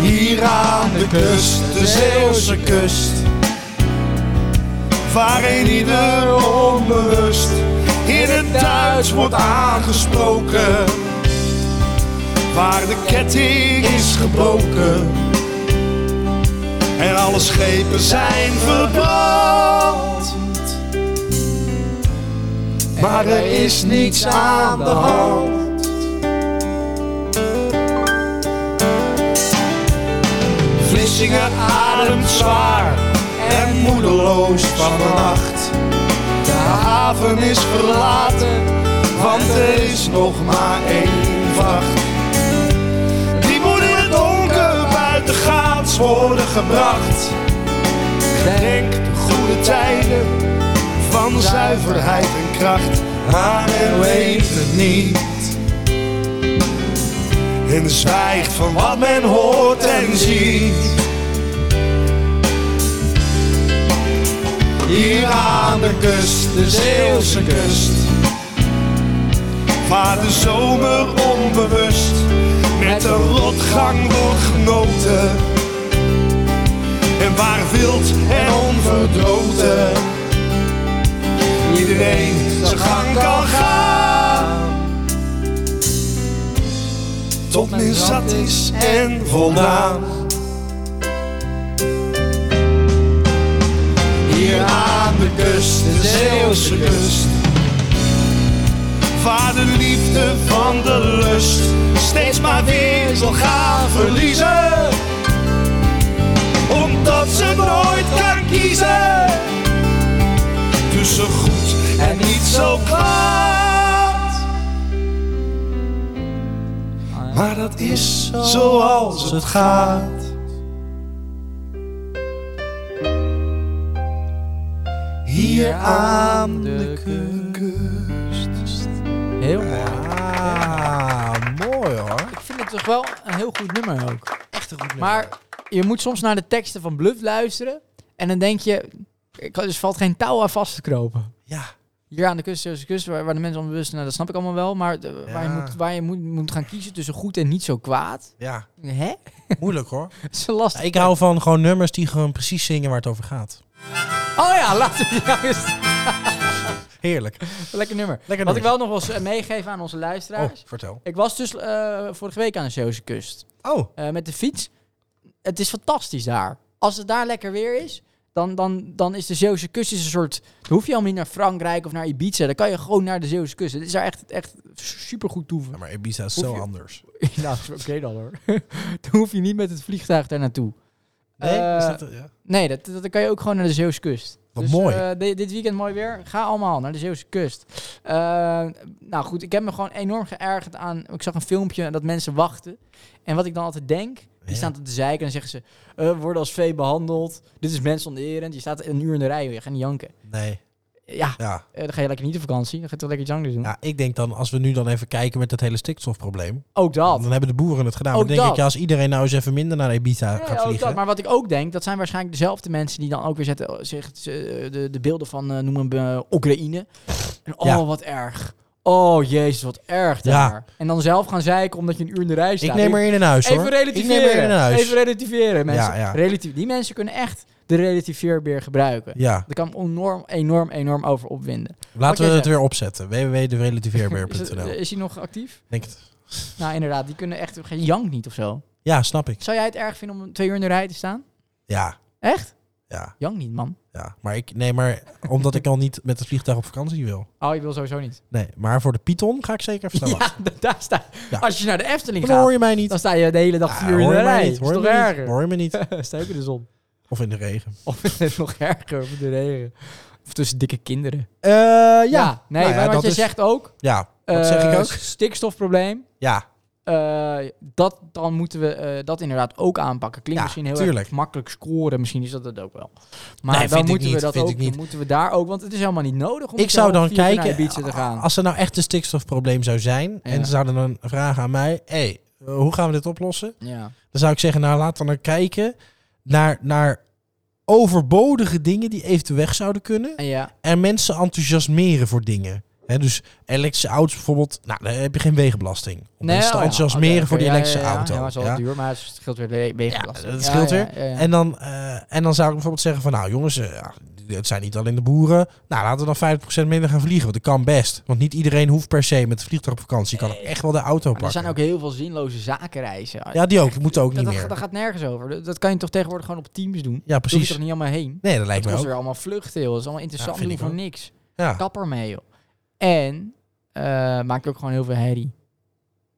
B: Hier aan de kust, de Zeeuwse kust, waarin ieder onbewust in het Duits wordt aangesproken. Waar de ketting is gebroken en alle schepen zijn verbrand maar er is niets aan de hand. Vlissingen ademt zwaar en moedeloos van de nacht. De haven is verlaten, want er is nog maar één vacht. Die moet in het donker buitengaats worden gebracht. Gedenk de goede tijden van zuiverheid en kracht, maar men weet het niet. En zwijgt van wat men hoort en ziet. Hier aan de kust, de Zeeuwse kust, waar de zomer onbewust met de rotgang wordt genoten. En waar wild en onverdroten iedereen zijn gang kan gaan. Tot men zat is en voldaan. Hier aan de kust, de Zeeuwse kust. Waar de liefde van de lust steeds maar weer zal gaan verliezen. Omdat ze nooit kan kiezen tussen goed en niet zo kwaad. Maar dat is zoals het gaat. Hier aan de kust.
A: Heel mooi.
C: Ah, mooi hoor.
A: Ik vind het toch wel een heel goed nummer ook.
C: Echt een goed nummer.
A: Maar je moet soms naar de teksten van Bluff luisteren. En dan denk je, er kan- er valt geen touw aan vast te kropen.
C: Ja.
A: Hier aan de kust, Zeeuwse kust, waar, waar de mensen onbewust zijn, nou, dat snap ik allemaal wel. Maar de- waar je,
C: Ja.
A: moet, waar je moet, moet gaan kiezen tussen goed en niet zo kwaad.
C: Ja,
A: Hè?
C: moeilijk hoor.
A: Dat is lastig.
C: Ik hou van gewoon nummers die gewoon precies zingen waar het over gaat.
A: Oh ja, laten we juist.
C: Heerlijk.
A: Lekker nummer.
C: Lekker
A: Wat ik
C: nummer.
A: wel nog wel eens eh, meegeven aan onze
C: Oh,
A: luisteraars.
C: vertel.
A: Ik was dus eh, vorige week aan de Zeeuwse kust.
C: Oh,
A: Eh, met de fiets. Het is fantastisch daar. Als het daar lekker weer is, dan, dan, dan is de Zeeuwse kust is een soort... Dan hoef je helemaal niet naar Frankrijk of naar Ibiza. Dan kan je gewoon naar de Zeeuwse kust. Het is daar echt, echt supergoed toe.
C: ja, maar Ibiza is
A: Hoef
C: zo
A: je-
C: anders.
A: nou, oké dan hoor. dan hoef je niet met het vliegtuig daar naartoe. Eh,
C: is dat, ja.
A: Nee, dat, dat, dan kan je ook gewoon naar de Zeeuwse kust.
C: Wat mooi.
A: eh, di- dit weekend mooi weer. Ga allemaal naar de Zeeuwse kust. Eh, nou goed, ik heb me gewoon enorm geërgerd aan... Ik zag een filmpje dat mensen wachten. En wat ik dan altijd denk... Die
C: Ja.
A: staan op de zeiken en zeggen ze... eh, we worden als vee behandeld. Dit is mensonderend. Je staat een uur in de rij weer. Gaan janken.
C: Nee.
A: Ja,
C: Ja.
A: eh, dan ga je lekker niet op vakantie. Dan ga je toch lekker iets anders doen.
C: ja, ik denk dan, als we nu dan even kijken met dat hele stikstofprobleem.
A: Ook dat.
C: Dan hebben de boeren het gedaan.
A: Ook
C: maar dan denk
A: dat.
C: ik, ja, als iedereen nou eens even minder naar Ibiza
A: Ja,
C: gaat
A: ook
C: vliegen.
A: dat. Maar wat ik ook denk, dat zijn waarschijnlijk dezelfde mensen die dan ook weer zetten oh, zich, eh, de, de beelden van, eh, noemen we eh, Oekraïne. En oh,
C: Ja.
A: wat erg. Oh, jezus, wat erg
C: Ja.
A: daar. En dan zelf gaan zeiken omdat je een uur in de rij staat.
C: ik neem er in een huis hoor.
A: Even
C: Ik
A: relativeren.
C: neem er in een huis.
A: Even relativeren, mensen.
C: Ja, ja.
A: Relatief, die mensen kunnen echt de relativeerbeer gebruiken.
C: Ja,
A: Daar kan ik me enorm, enorm, enorm over opwinden. Wat
C: laten
A: jij
C: we het
A: zegt.
C: weer opzetten.
A: Is, het-
C: www.derelativeerbeer.nl
A: is hij nog actief?
C: Denk het.
A: Nou, inderdaad. Die kunnen echt... Geen jank niet of zo.
C: Ja, snap ik.
A: Zou jij het erg vinden om twee uur in de rij te staan?
C: Ja,
A: Echt?
C: ja,
A: Jank niet, man.
C: ja. Maar ik, nee, maar omdat ik al niet met het vliegtuig op vakantie wil.
A: Oh, je wil sowieso niet.
C: Nee, maar voor de Python ga ik zeker even staan wachten.
A: Ja, d- daar sta
C: Ja.
A: Als je naar de Efteling
C: Dan hoor
A: gaat,
C: je mij niet.
A: dan sta je de hele dag
C: Ja,
A: vier uur in
C: Ah, hoor
A: de
C: je mij
A: rij.
C: niet,
A: Is
C: hoor je
A: toch
C: me niet,
A: erger?
C: Hoor je me niet.
A: Sta je ook in de zon.
C: Of in de regen.
A: Of nog erger, of de regen. Of tussen dikke kinderen.
C: Eh,
A: Ja,
C: ja.
A: nee,
C: Nou ja,
A: maar wat
C: dat
A: je
C: is-
A: zegt ook...
C: Ja, dat
A: eh,
C: zeg ik ook.
A: Stikstofprobleem.
C: Ja,
A: Eh, dat, dan moeten we eh, dat inderdaad ook aanpakken. Klinkt
C: Ja,
A: misschien heel
C: tuurlijk.
A: erg makkelijk scoren. Misschien is dat het ook wel. Maar dan
C: Nee, vind ik
A: moeten
C: niet,
A: we dat
C: vind
A: ook.
C: ik niet.
A: Dan moeten we daar ook. Want het is helemaal niet nodig om
C: ik
A: zelf
C: zou dan
A: vier keer naar
C: kijken,
A: Ibiza te gaan.
C: als er nou echt een stikstofprobleem zou zijn, en ze zouden dan vragen aan mij, hé, hey, eh, hoe gaan we dit oplossen?
A: ja.
C: Dan zou ik zeggen, nou laten we dan kijken naar, naar overbodige dingen die even weg zouden kunnen.
A: En ja.
C: En mensen enthousiasmeren voor dingen. Hè, dus elektrische auto's bijvoorbeeld, nou dan heb je geen wegenbelasting. Om mensen te
A: oh ja,
C: enthousiasmeren
A: oké,
C: voor die
A: oké, ja,
C: elektrische
A: ja, ja.
C: auto.
A: Ja, maar het is wel
C: ja.
A: duur, maar het scheelt weer de wegenbelasting.
C: Ja, dat scheelt
A: Ja,
C: weer.
A: ja, ja, ja.
C: En dan, eh, en dan zou ik bijvoorbeeld zeggen van, nou jongens, eh, ja, het zijn niet alleen de boeren. Nou, laten we dan 50% minder gaan vliegen, want dat kan best. Want niet iedereen hoeft per se met het vliegtuig op vakantie. Je kan ook echt wel de auto
A: Maar er
C: pakken.
A: zijn ook heel veel zinloze zakenreizen.
C: ja, die ook. Die moeten ook
A: dat,
C: niet
A: dat,
C: meer.
A: dat gaat nergens over. Dat, dat kan je toch tegenwoordig gewoon op Teams doen? Precies.
C: ja,
A: Hoef je
C: precies.
A: toch niet allemaal heen?
C: Nee, dat
A: Het
C: lijkt me
A: kost
C: ook.
A: weer allemaal vluchten, joh. Dat is allemaal interessant
C: Ja, vind
A: doen
C: ik
A: voor
C: ook.
A: niks.
C: Ja,
A: Kapper mee, joh. En eh, maak je ook gewoon heel veel herrie.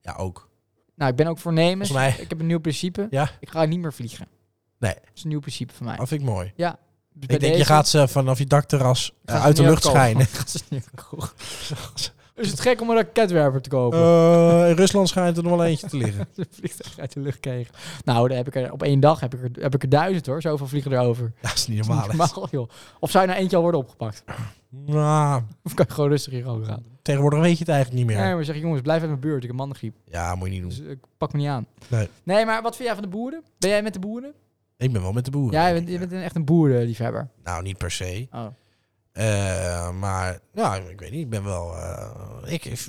C: ja, ook.
A: Nou, ik ben ook voornemens.
C: Volgens mij-
A: Ik heb een nieuw principe.
C: Ja.
A: Ik ga niet meer vliegen.
C: Nee.
A: Dat is een nieuw principe van mij.
C: Dat vind ik mooi.
A: Dus bij
C: Ik denk, je
A: deze
C: gaat ze vanaf je dakterras eh,
A: gaan ze
C: uit de
A: nu
C: lucht
A: ook kopen.
C: schijnen.
A: Gaan ze nu ook kopen. Is het gek om een raketwerper te kopen?
C: Eh, in Rusland schijnt er nog wel eentje te liggen.
A: Een vliegtuig uit de lucht kregen. Nou, dan heb ik er, op één dag heb ik, er, heb ik er duizend hoor. Zoveel vliegen erover.
C: Ja, dat is niet
A: Dat is
C: normaal.
A: niet
C: hè.
A: normaal, joh. Of zou je nou eentje al worden opgepakt?
C: Nou,
A: Of kan je gewoon rustig hier gewoon gaan?
C: tegenwoordig weet je het eigenlijk niet
A: Nee,
C: meer.
A: maar zeg jongens, blijf uit mijn buurt. Ik heb mannengriep.
C: Ja, moet je niet
A: Dus
C: doen.
A: eh, ik pak me niet aan.
C: Nee.
A: nee, maar wat vind jij van de boeren? Ben jij met de boeren?
C: Ik ben wel met de boeren.
A: Ja, je bent, je bent een- echt een boerenliefhebber.
C: Nou, niet per se.
A: Oh.
C: Eh, maar, ja, ik weet niet. Ik ben wel... eh, ik, ik,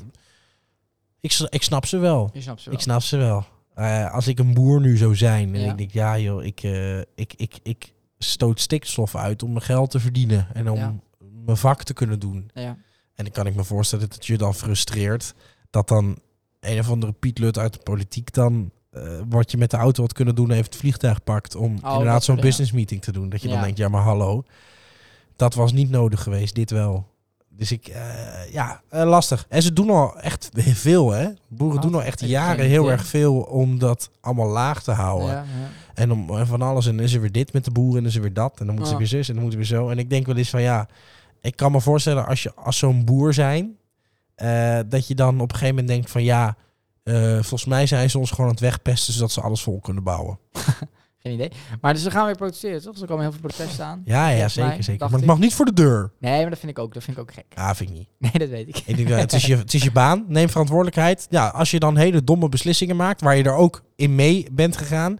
C: ik, s- ik snap ze wel.
A: Je snapt ze wel.
C: Ik snap ze wel. Eh, als ik een boer nu zou zijn en
A: Ja.
C: ik denk, ja joh, ik, eh, ik, ik, ik stoot stikstof uit om mijn geld te verdienen en om
A: Ja.
C: mijn vak te kunnen doen.
A: Ja.
C: En dan kan ik me voorstellen dat het je dan frustreert dat dan een of andere Piet Lut uit de politiek dan eh, wat je met de auto had kunnen doen, heeft het vliegtuig pakt om
A: Oh, dat
C: inderdaad zo'n
A: soort dingen.
C: business meeting te doen. Dat je dan
A: Ja.
C: denkt, ja maar hallo, dat was niet nodig geweest, dit wel. Dus ik, eh, ja, eh, lastig. En ze doen al echt veel, hè?
A: Wat?
C: Boeren doen al echt
A: Ik
C: jaren
A: geen
C: heel
A: idee.
C: erg veel om dat allemaal laag te houden.
A: Ja, ja.
C: En om en van alles. En dan is er weer dit met de boeren, en dan is er weer dat. En dan moeten ze
A: Ja.
C: weer zus, en dan moeten we zo. En ik denk wel eens van ja, ik kan me voorstellen als je als zo'n boer zijn, eh, dat je dan op een gegeven moment denkt van ja, eh, volgens mij zijn ze ons gewoon aan het wegpesten zodat ze alles vol kunnen bouwen.
A: Geen idee. Maar dus we gaan weer protesteren, toch? Dus er komen heel veel protesten aan.
C: Ja, ja,
A: Volgens
C: zeker,
A: mij,
C: zeker.
A: dacht
C: Maar het
A: ik.
C: mag niet voor de deur.
A: Nee, maar dat vind ik ook, dat vind ik ook gek.
C: Ja, vind ik niet.
A: Nee, dat weet ik.
C: Ik denk, ja, het, is je, het is je baan, neem verantwoordelijkheid. Ja, als je dan hele domme beslissingen maakt, waar je er ook in mee bent gegaan,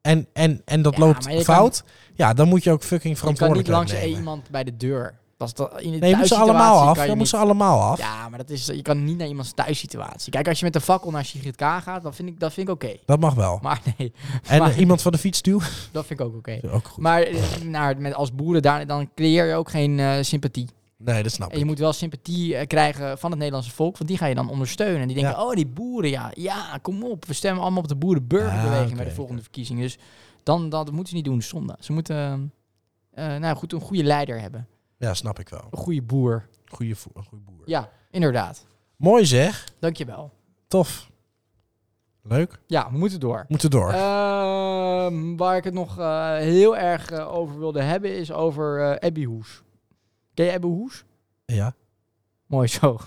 C: en, en, en dat
A: Ja,
C: loopt
A: maar je
C: fout, ja, dan moet je ook fucking
A: Je kan niet
C: verantwoordelijkheid
A: langs
C: nemen.
A: iemand bij de deur. Dat is dat, in de
C: Nee, je moet ze
A: thuissituatie
C: allemaal af.
A: kan je
C: Je moet
A: niet-
C: ze allemaal af.
A: Ja, maar dat is, je kan niet naar iemands thuissituatie. Kijk, als je met de fakkel naar Sigrid K gaat, dan vind ik, dat vind ik oké.
C: Dat mag wel.
A: Maar nee,
C: en eh,
A: maar-
C: iemand van de fiets duwen.
A: dat vind ik ook oké.
C: Ook goed.
A: Maar eh, nou, met als boeren daar, dan creëer je ook geen eh, sympathie.
C: Nee, dat snap
A: En je
C: ik.
A: moet wel sympathie eh, krijgen van het Nederlandse volk, want die ga je dan ondersteunen. En die denken, oh, die boeren, ja, ja, kom op. We stemmen allemaal op de boerenburgerbeweging
C: Ah, oké,
A: bij de volgende
C: oké.
A: verkiezingen. Dus dan, dat moeten ze niet doen, zonde. Ze moeten eh, eh, nou, goed, een goede leider hebben.
C: Ja, snap ik wel.
A: Een goede boer.
C: Goeie, vo- een goeie boer.
A: Ja, inderdaad.
C: Mooi zeg.
A: Dankjewel.
C: Tof. Leuk.
A: Ja, we moeten door.
C: Moeten door.
A: Eh. Ehm, waar ik het nog eh, heel erg eh, over wilde hebben, is over eh Abby Hoes. Ken je Abby Hoes?
C: ja.
A: Mooi zo.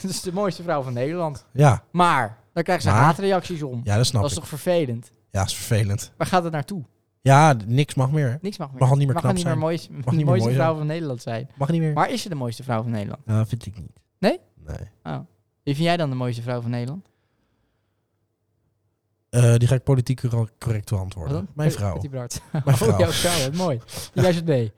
A: dat is de mooiste vrouw van Nederland.
C: Ja.
A: Maar, daar krijgen ze
C: Maar?
A: haatreacties om.
C: ja, dat snap
A: dat is
C: ik.
A: toch vervelend?
C: Ja, is vervelend.
A: Waar gaat het naartoe?
C: Ja, d- niks mag meer. hè.
A: Niks mag meer.
C: Mag al niet meer knap
A: niet
C: zijn.
A: Meer moois,
C: niet
A: de
C: meer
A: mooiste
C: mooi
A: vrouw
C: zijn.
A: van Nederland zijn.
C: Mag niet meer.
A: Maar is ze de mooiste vrouw van Nederland?
C: Nou, vind ik niet.
A: Nee?
C: Nee.
A: Wie vind jij dan de mooiste vrouw van Nederland?
C: Eh, die ga ik politiek cor- correct
A: Wat
C: beantwoorden.
A: dan?
C: Mijn
A: Pet-
C: vrouw.
A: Petit Bart.
C: Mijn
A: Oh, jouw
C: vrouw.
A: vrouw. Wat mooi. Jij zit mee.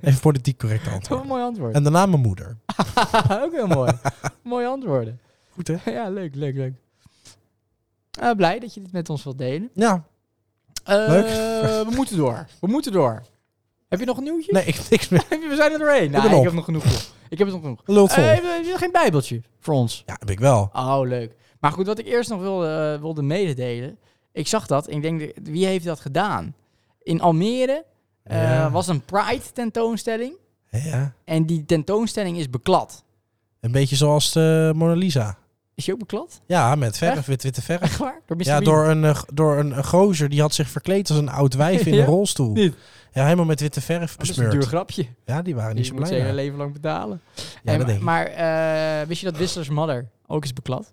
C: Even politiek correct
A: Wat een
C: antwoorden.
A: Oh, mooi antwoord.
C: En daarna mijn moeder.
A: Ook heel mooi. Mooie antwoorden.
C: Goed, hè?
A: ja, leuk, leuk, leuk. Eh, blij dat je dit met ons wilt delen.
C: Ja.
A: Eh,
C: Leuk.
A: we moeten door. We moeten door. Heb je nog een nieuwtje?
C: Nee, ik heb niks meer.
A: We zijn er doorheen. Nou,
C: ben
A: ik
C: op.
A: heb nog genoeg. joh. Ik heb het nog genoeg.
C: Lult vol.
A: Eh, heb je- heb je geen bijbeltje voor ons?
C: Ja, heb ik wel.
A: Oh, leuk. Maar goed, wat ik eerst nog wilde, eh, wilde mededelen. Ik zag dat en ik denk, wie heeft dat gedaan? In Almere eh,
C: Ja.
A: was een Pride tentoonstelling.
C: Ja.
A: En die tentoonstelling is beklad.
C: Een beetje zoals de Mona Lisa.
A: Is die ook beklad?
C: Ja, met verf, wit witte verf.
A: Echt waar? Door Mr.
C: Ja,
A: Bean?
C: door een, eh, g- door een, een gozer die had zich verkleed als een oud wijf in
A: Ja?
C: een rolstoel.
A: Niet. Oh,
C: Ja, helemaal met witte verf
A: Dat is een duur
C: besmeurd.
A: grapje.
C: Ja, die waren niet
A: Die
C: zo
A: moet ze
C: blij.
A: hele
C: mee.
A: leven lang betalen.
C: Ja,
A: En-
C: dat denk ik.
A: maar eh, wist je dat Whistler's Mother ook is beklad?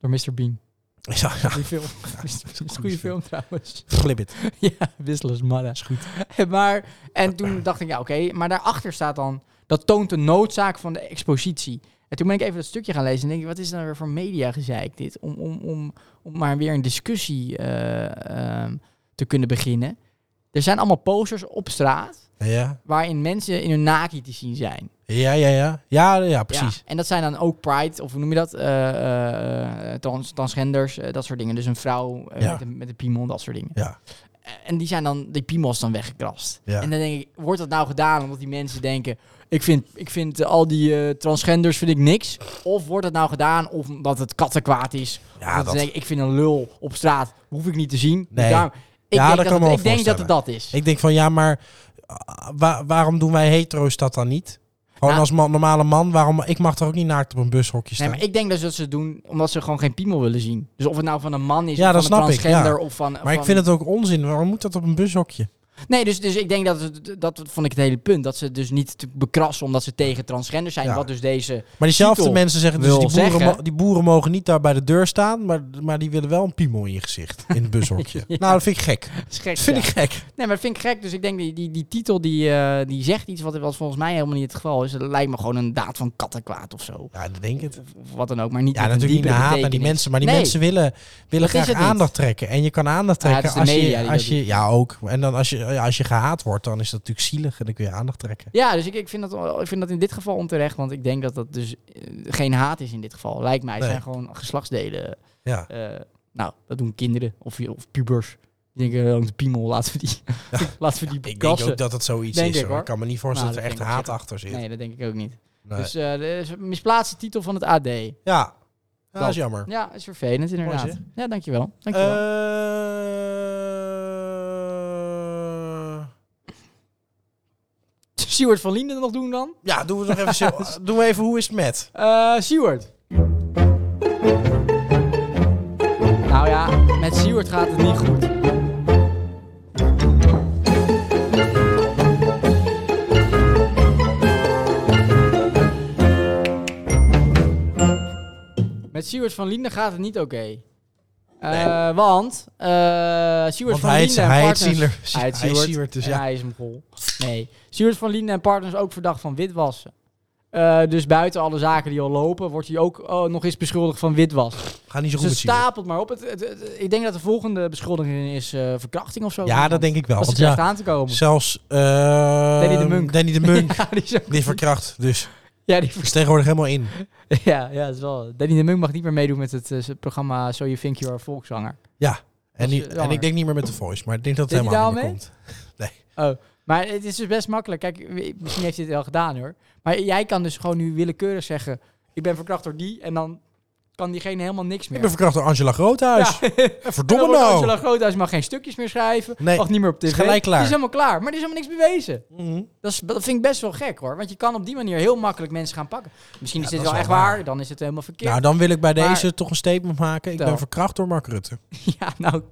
A: Door Mr. Bean.
C: Ja, ja,
A: Die film. dat is een goede film trouwens.
C: flip it.
A: ja, Whistler's Mother.
C: Is goed.
A: maar, en toen dacht ik, ja oké, maar daarachter staat dan, dat toont de noodzaak van de expositie. En toen ben ik even dat stukje gaan lezen en denk ik, wat is nou weer voor media gezeik dit? Om, om, om, om maar weer een discussie eh, ehm, te kunnen beginnen. Er zijn allemaal posters op straat
C: Ja,
A: waarin mensen in hun naki te zien zijn.
C: ja, ja. Ja, ja, ja precies.
A: Ja, en dat zijn dan ook pride, of hoe noem je dat? Eh, eh, eh, trans, transgenders, eh, dat soort dingen. Dus een vrouw eh,
C: Ja.
A: met, een, met een piemel, dat soort dingen.
C: Ja.
A: En die zijn dan, die piemels dan weggekrast.
C: Ja.
A: En dan denk ik, wordt dat nou gedaan omdat die mensen denken, ik vind, ik vind eh, al die eh, transgenders vind ik niks. Of wordt dat nou gedaan of omdat het kattenkwaad is.
C: Ja,
A: Of dat
C: dat-
A: ze denken, ik vind een lul op straat, hoef ik niet te zien. Dus
C: Nee.
A: daarom- ik
C: Ja, dat
A: denk,
C: kan
A: dat,
C: me
A: het,
C: wel
A: ik denk dat het
C: voorstellen.
A: dat is.
C: Ik denk van, ja, maar ah, wa- waarom doen wij hetero's dat dan niet? Gewoon
A: Nou-
C: als man, normale man, waarom, ik mag toch ook niet naakt op een bushokje
A: Nee,
C: staan?
A: maar ik denk dus dat ze het doen omdat ze gewoon geen piemel willen zien. Dus of het nou van een man is,
C: Ja,
A: of
C: dat
A: van een
C: snap ik,
A: transgender,
C: ja.
A: of van...
C: maar ik
A: van-
C: vind het ook onzin. Waarom moet dat op een bushokje?
A: Nee, dus, dus ik denk dat, het, dat vond ik het hele punt. Dat ze dus niet te bekrassen omdat ze tegen transgender zijn.
C: Ja.
A: Wat dus deze...
C: Maar diezelfde
A: Titel
C: mensen zeggen dus,
A: wil
C: die boeren,
A: zeggen-
C: mo- die boeren mogen niet daar bij de deur staan, maar, maar die willen wel een piemel in je gezicht, in het bushokje. Nou, dat vind ik gek. Dat vind ik gek.
A: Nee, maar dat vind ik gek. Dus ik denk die, die, die titel die, eh, die zegt iets wat, wat volgens mij helemaal niet het geval is. Dat lijkt me gewoon een daad van kattenkwaad of zo.
C: Ja, dat denk ik.
A: Of, of wat dan ook, maar niet
C: Ja,
A: met een
C: natuurlijk niet
A: diepere
C: naar haat naar die
A: betekenis.
C: mensen, maar die
A: Nee.
C: mensen willen, willen
A: Dat is
C: graag
A: het niet.
C: aandacht trekken. En je kan aandacht
A: Ja, het
C: trekken
A: is
C: als
A: de media
C: je,
A: die
C: als
A: dat
C: je... Ja, ook. En dan als je, ja, als je gehaat wordt, dan is dat natuurlijk zielig en dan kun je aandacht trekken.
A: Ja, dus ik, ik, vind dat, wel- ik vind dat in dit geval onterecht. Want ik denk dat dat dus eh, geen haat is in dit geval. Lijkt mij. Het
C: Nee.
A: zijn gewoon geslachtsdelen.
C: Ja.
A: eh, nou, dat doen kinderen of, of pubers. Die denken, oh, de piemel, laten we die, laten we die
C: Ik denk
A: kassen.
C: ook dat het zoiets
A: Denk
C: is
A: ik,
C: hoor.
A: hoor.
C: Ik kan me niet voorstellen
A: Nou,
C: dat er
A: dat denk
C: echt
A: ik
C: haat
A: wel
C: achter zit.
A: Nee, dat denk ik ook niet.
C: Nee.
A: Dus eh, er is een misplaatste titel van het AD.
C: ja. Ja, dat
A: Dat.
C: is jammer.
A: Ja, is vervelend inderdaad.
C: zeg.
A: ja, dankjewel. dankjewel.
C: Eh,
A: Stuart van Linden nog doen dan?
C: Ja, doen we nog even, zo- doen we even hoe is het met?
A: Eh Stuart. Nou ja, met Stuart gaat het niet goed. Met Stuart van Linden gaat het niet oké. Eh, Want eh Stuart
C: Want
A: van
C: hij heet-
A: Linden en
C: hij heet
A: partners...
C: Zieler.
A: Hij heet
C: Hij
A: Stuart,
C: is Siewert, dus
A: en
C: ja.
A: hij is een gol. Nee. Stuart van Linden en partners ook verdacht van witwassen. Eh, dus buiten alle zaken die al lopen, wordt hij ook oh, nog eens beschuldigd van witwassen.
C: Ga niet zo goed
A: Ze
C: met Siewert.
A: stapelt maar op. Het, het- het- ik denk dat de volgende beschuldiging is eh, verkrachting of zo.
C: Ja, dat denk ik wel.
A: Als
C: Want
A: het echt
C: ja,
A: aan te komen.
C: zelfs eh,
A: Danny de Munk.
C: Danny de Munk,
A: Ja, die zo-
C: die verkracht. Dus
A: ja, die
C: is tegenwoordig helemaal in.
A: Ja, ja, dat is wel. Danny de Munk mag niet meer meedoen met het eh, programma So You Think You Are Volkszanger.
C: Ja.
A: is
C: En,
A: eh,
C: die-
A: jammer.
C: en ik denk niet meer met de voice, maar ik denk dat het
A: Deed hij
C: helemaal
A: daar
C: niet
A: al
C: meer
A: Oh, maar het is dus best makkelijk. Kijk, w- misschien heeft hij het wel gedaan hoor. Maar jij kan dus gewoon nu willekeurig zeggen: Ik ben verkracht door die. En dan kan diegene helemaal niks
C: Ik
A: meer.
C: ben verkracht door Angela Groothuis. Eh, Verdomme
A: En dan wordt
C: nou.
A: Angela Groothuis mag geen stukjes meer schrijven.
C: Nee,
A: mag niet meer op tv.
C: is gelijk klaar.
A: Die is helemaal klaar. Maar er is helemaal niks bewezen.
C: Mhm.
A: Dat, is, dat vind ik best wel gek hoor. Want je kan op die manier heel makkelijk mensen gaan pakken. Misschien is
C: Ja,
A: dit wel
C: dat is
A: echt
C: wel
A: waar.
C: waar.
A: Dan is het helemaal verkeerd.
C: Nou, dan wil ik bij
A: Maar-
C: deze toch een statement maken. Ik
A: Vertel.
C: ben verkracht door Mark Rutte.
A: ja, nou.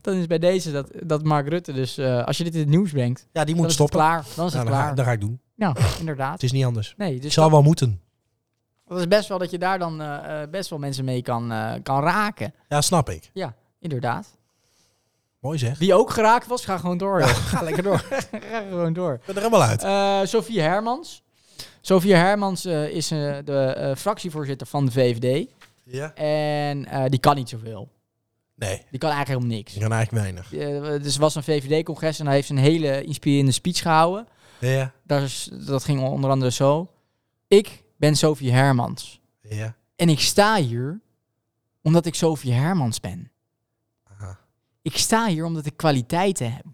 A: Dan is bij deze dat, dat Mark Rutte dus... eh, als je dit in het nieuws brengt,
C: Ja, die
A: dan
C: moet
A: is
C: stoppen.
A: het klaar. Dan is het
C: Nou, dan, ga,
A: klaar.
C: dan ga ik doen.
A: Nou, inderdaad.
C: Het is niet anders.
A: Nee, dus
C: Ik zal
A: dat,
C: wel moeten.
A: dat is best wel dat je daar dan eh, eh, best wel mensen mee kan, eh, kan raken.
C: Ja, snap ik.
A: Ja, inderdaad.
C: Mooi zeg.
A: Die ook geraakt was, ga gewoon door. joh.
C: Ga lekker door. Ik
A: ga gewoon door.
C: ben er helemaal uit.
A: Eh, Sophie Hermans. Sophie Hermans eh, is eh, de eh, fractievoorzitter van de VVD.
C: Ja.
A: En eh, die kan niet zoveel.
C: Nee,
A: Die kan eigenlijk helemaal niks.
C: ik kan eigenlijk weinig.
A: Eh, dus er was een VVD-congres en daar heeft ze een hele inspirerende speech gehouden.
C: Ja.
A: Daar is, dat ging onder andere zo. Ik ben Sophie Hermans.
C: Ja.
A: En ik sta hier omdat ik Sophie Hermans ben.
C: Aha.
A: Ik sta hier omdat ik kwaliteiten heb.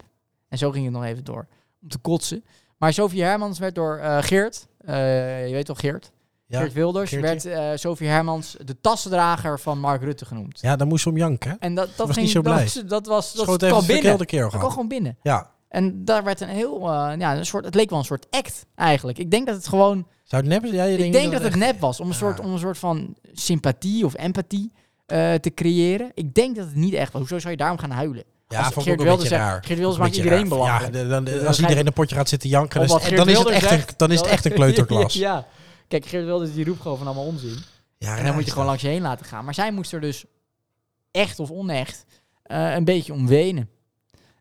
A: En zo ging het nog even door. Om te kotsen. Maar Sophie Hermans werd door eh, Geert. eh, je weet toch Geert?
C: Ja.
A: Geert Wilders
C: Geertje.
A: werd eh, Sophie Hermans de tassendrager van Mark Rutte genoemd.
C: ja, daar moest ze om janken. hè.
A: En dat, dat
C: was
A: ging
C: niet zo blij.
A: Dat, dat was dat
C: Schoot even
A: kwam
C: de
A: binnen.
C: verkeerde keer
A: Dat kwam
C: gehad.
A: gewoon binnen.
C: Ja.
A: En daar werd een heel, eh, ja, een soort, het leek wel een soort act eigenlijk. Ik denk dat het gewoon,
C: Zou het nep zijn? Ja, je
A: ik
C: denkt
A: denk
C: niet
A: dat het nep was om een, soort,
C: Ja.
A: om een soort van sympathie of empathie eh, te creëren. Ik denk dat het niet echt was. Hoezo zou je daarom gaan huilen?
C: Ja,
A: als
C: vond ik
A: Geert
C: ook een
A: Wilders
C: beetje
A: zegt-
C: raar.
A: Geert Wilders
C: Een
A: maakt
C: beetje
A: iedereen
C: raar.
A: belachelijk.
C: Ja, dan- dan-
A: Dan
C: als
A: ga je-
C: iedereen een potje gaat zitten janken, dan,
A: Omdat
C: is-
A: Geert
C: dan is het
A: Wilders
C: echt een,
A: zegt-
C: dan is het echt een kleuterklas. Ja,
A: ja. Kijk, Geert Wilders die roept gewoon van allemaal onzin.
C: raar
A: En dan moet
C: is
A: je gewoon
C: dat.
A: langs je heen laten gaan. Maar zij moest er dus echt of onecht eh, een beetje om wenen.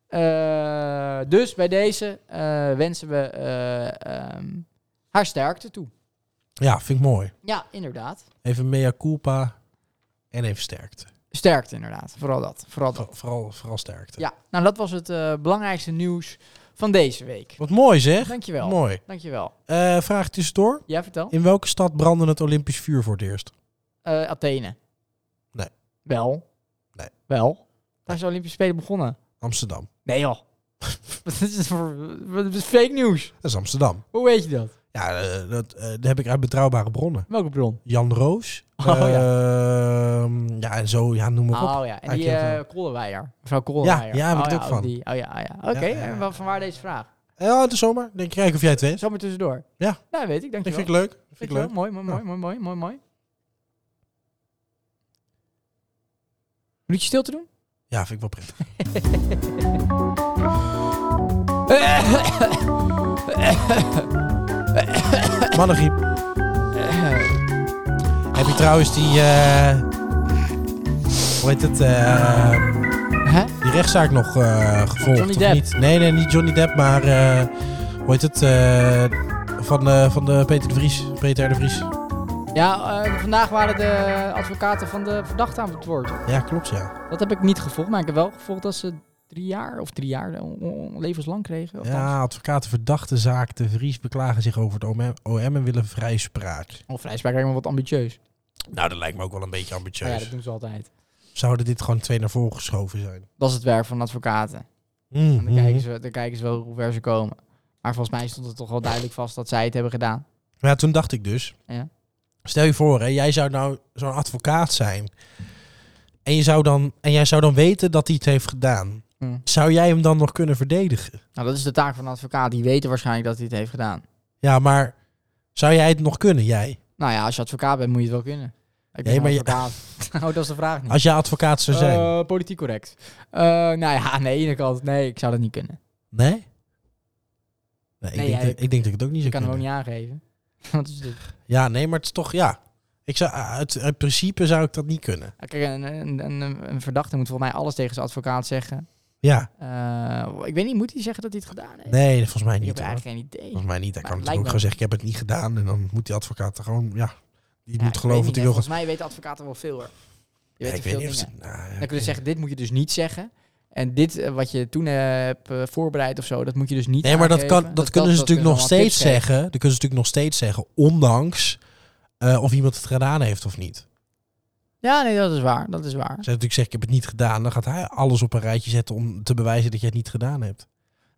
A: Eh, dus bij deze eh, wensen we eh, ehm, haar sterkte toe.
C: Ja, vind ik mooi.
A: Ja, inderdaad.
C: Even mea culpa en even sterkte.
A: Sterkte inderdaad. Vooral dat. Vooral dat.
C: Vo- Vooral, vooral sterkte.
A: Ja, nou dat was het eh, belangrijkste nieuws van deze week.
C: Wat mooi zeg.
A: Dankjewel.
C: Mooi.
A: Dankjewel.
C: Eh, vraag tussendoor.
A: Jij vertel?
C: In welke stad brandde het Olympisch vuur voor het eerst?
A: Eh, Athene.
C: Nee.
A: Wel.
C: Nee.
A: Wel. Daar is de Olympische Spelen begonnen.
C: Amsterdam.
A: Nee joh. wat is het voor wat is fake nieuws?
C: Dat is Amsterdam.
A: Hoe weet je dat?
C: Ja, eh, dat, eh, dat heb ik uit betrouwbare bronnen.
A: Welke bron?
C: Jan Roos.
A: Oh,
C: Ehm, ja. en zo, ja, noem maar op.
A: Oh ja, en die
C: Eigenlijk heel
A: eh Kollewijer. Mevrouw Kollewijer.
C: ja, heb ik
A: oh,
C: het ook
A: oh,
C: van.
A: Die. Oh ja, oh ja. Oké,
C: Ja, ja,
A: en
C: ja.
A: wa- van waar deze vraag?
C: Ja, de zomer. Denk, kijk of jij het weet.
A: Zomaar tussendoor.
C: Ja.
A: Nou, weet ik. Dank je wel.
C: Dat vind ik leuk. Dat vind ik leuk.
A: Mooi, mooi, mooi, mooi, mooi, mooi, mooi. Minuutje stil te doen?
C: Ja, vind ik wel prettig. Mannengriep. Heb je trouwens die... eh hoe heet het? eh,
A: Hè?
C: die rechtszaak nog eh, gevolgd?
A: Johnny
C: of
A: Depp.
C: Niet? Nee, nee, niet Johnny Depp, maar... eh, hoe heet het? eh, van, eh, van de Peter de Vries. Peter R. de Vries.
A: Ja, eh, vandaag waren de advocaten van de verdachte aan het woord.
C: Ja, klopt, ja.
A: Dat heb ik niet gevolgd, maar ik heb wel gevolgd dat ze drie jaar of drie jaar eh, on- on- levenslang kregen. Of,
C: Ja, advocaten verdachte zaak. De Vries beklagen zich over het OM, OM en willen vrijspraak.
A: of vrijspraak lijkt me wat ambitieus.
C: Nou, dat lijkt me ook wel een beetje
A: Maar
C: ambitieus.
A: ja, dat doen ze altijd.
C: Zouden dit gewoon twee naar voren geschoven zijn?
A: Dat is het werk van advocaten.
C: Hmm.
A: En
C: Mhm.
A: dan, kijken ze, dan kijken ze wel hoe ver ze komen. Maar volgens mij stond het toch wel duidelijk vast dat zij het hebben gedaan.
C: Maar ja, toen dacht ik dus...
A: Ja.
C: Stel je voor, hè, jij zou nou zo'n advocaat zijn. En, je zou dan, en jij zou dan weten dat hij het heeft gedaan.
A: Hmm.
C: Zou jij hem dan nog kunnen verdedigen?
A: Nou, dat is de taak van een advocaat. Die weten waarschijnlijk dat hij het heeft gedaan.
C: Ja, maar zou jij het nog kunnen, jij?
A: Nou ja, als je advocaat bent, moet je het wel kunnen. Ik ben
C: Nee, maar
A: een
C: je-
A: advocaat. oh, dat is de vraag niet.
C: Als jij advocaat zou zijn?
A: Eh, politiek correct. Eh, nou ja, aan de ene kant, nee, ik zou dat niet kunnen.
C: nee? Nee, ik,
A: Nee,
C: denk
A: jij-
C: dat, ik denk dat ik het ook niet
A: Ik
C: zou
A: kan hem ook
C: kunnen.
A: niet aangeven. Wat is dit?
C: Ja, nee, maar het is toch... Ja, ik zou, uit, uit principe zou ik dat niet kunnen.
A: Kijk, een, een, een, een verdachte moet volgens mij alles tegen zijn advocaat zeggen.
C: Ja,
A: Eh, ik weet niet, moet hij zeggen dat hij het gedaan heeft?
C: nee, volgens mij
A: ik
C: niet.
A: heb
C: hoor.
A: eigenlijk geen idee.
C: Volgens mij niet. Hij
A: Maar
C: kan
A: het
C: natuurlijk ook gewoon
A: lijkt
C: zeggen, ik heb het niet gedaan. En dan moet die advocaat er gewoon, ja, die
A: Ja,
C: moet
A: ik
C: geloven
A: weet
C: wat hij
A: niet, hè.
C: wil.
A: Volgens mij weten advocaten wel veel hoor. Je
C: Ja,
A: weet
C: ik
A: er veel
C: weet niet
A: dingen.
C: of ze- nou,
A: Dan
C: ja, ik
A: kun
C: weet
A: je zeggen, dit moet je dus niet zeggen. En dit eh, wat je toen eh, hebt eh, voorbereid of zo, dat moet je dus niet
C: Nee, maar dat, kan,
A: aangeven.
C: dat, kunnen ze
A: dat
C: natuurlijk nog
A: allemaal
C: steeds
A: tips geven.
C: zeggen. Dat kunnen ze natuurlijk nog steeds zeggen, ondanks eh, of iemand het gedaan heeft of niet. Als
A: Ja, nee, dat is waar. Dat is waar.
C: hij natuurlijk zegt, ik heb het niet gedaan, dan gaat hij alles op een rijtje zetten om te bewijzen dat jij het niet gedaan hebt. En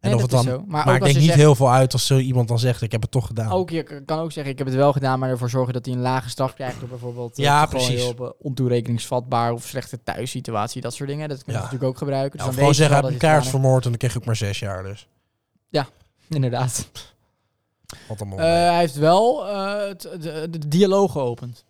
A: Nee,
C: of
A: dat
C: het
A: is
C: dan,
A: zo.
C: Maar,
A: ook als
C: ik denk
A: je
C: niet
A: zegt-
C: heel veel uit als zo iemand dan zegt, ik heb het toch gedaan.
A: Ook, je k- kan ook zeggen, ik heb het wel gedaan, maar ervoor zorgen dat hij een lage straf krijgt. Door bijvoorbeeld eh,
C: Ja,
A: te gooien
C: precies.
A: op eh, ontoerekeningsvatbaar of slechte thuissituatie, dat soort dingen. Dat kun je
C: Ja.
A: natuurlijk ook gebruiken. Dus
C: Ja, of
A: dan
C: gewoon
A: weet je
C: zeggen, ik
A: wel
C: heb een
A: dat je het
C: kaart
A: gedaan
C: vermoord en dan kreeg ik maar zes jaar dus.
A: hebt. Inderdaad.
C: Wat een
A: Eh,
C: mooi.
A: hij heeft wel eh, het- de, de dialoog geopend.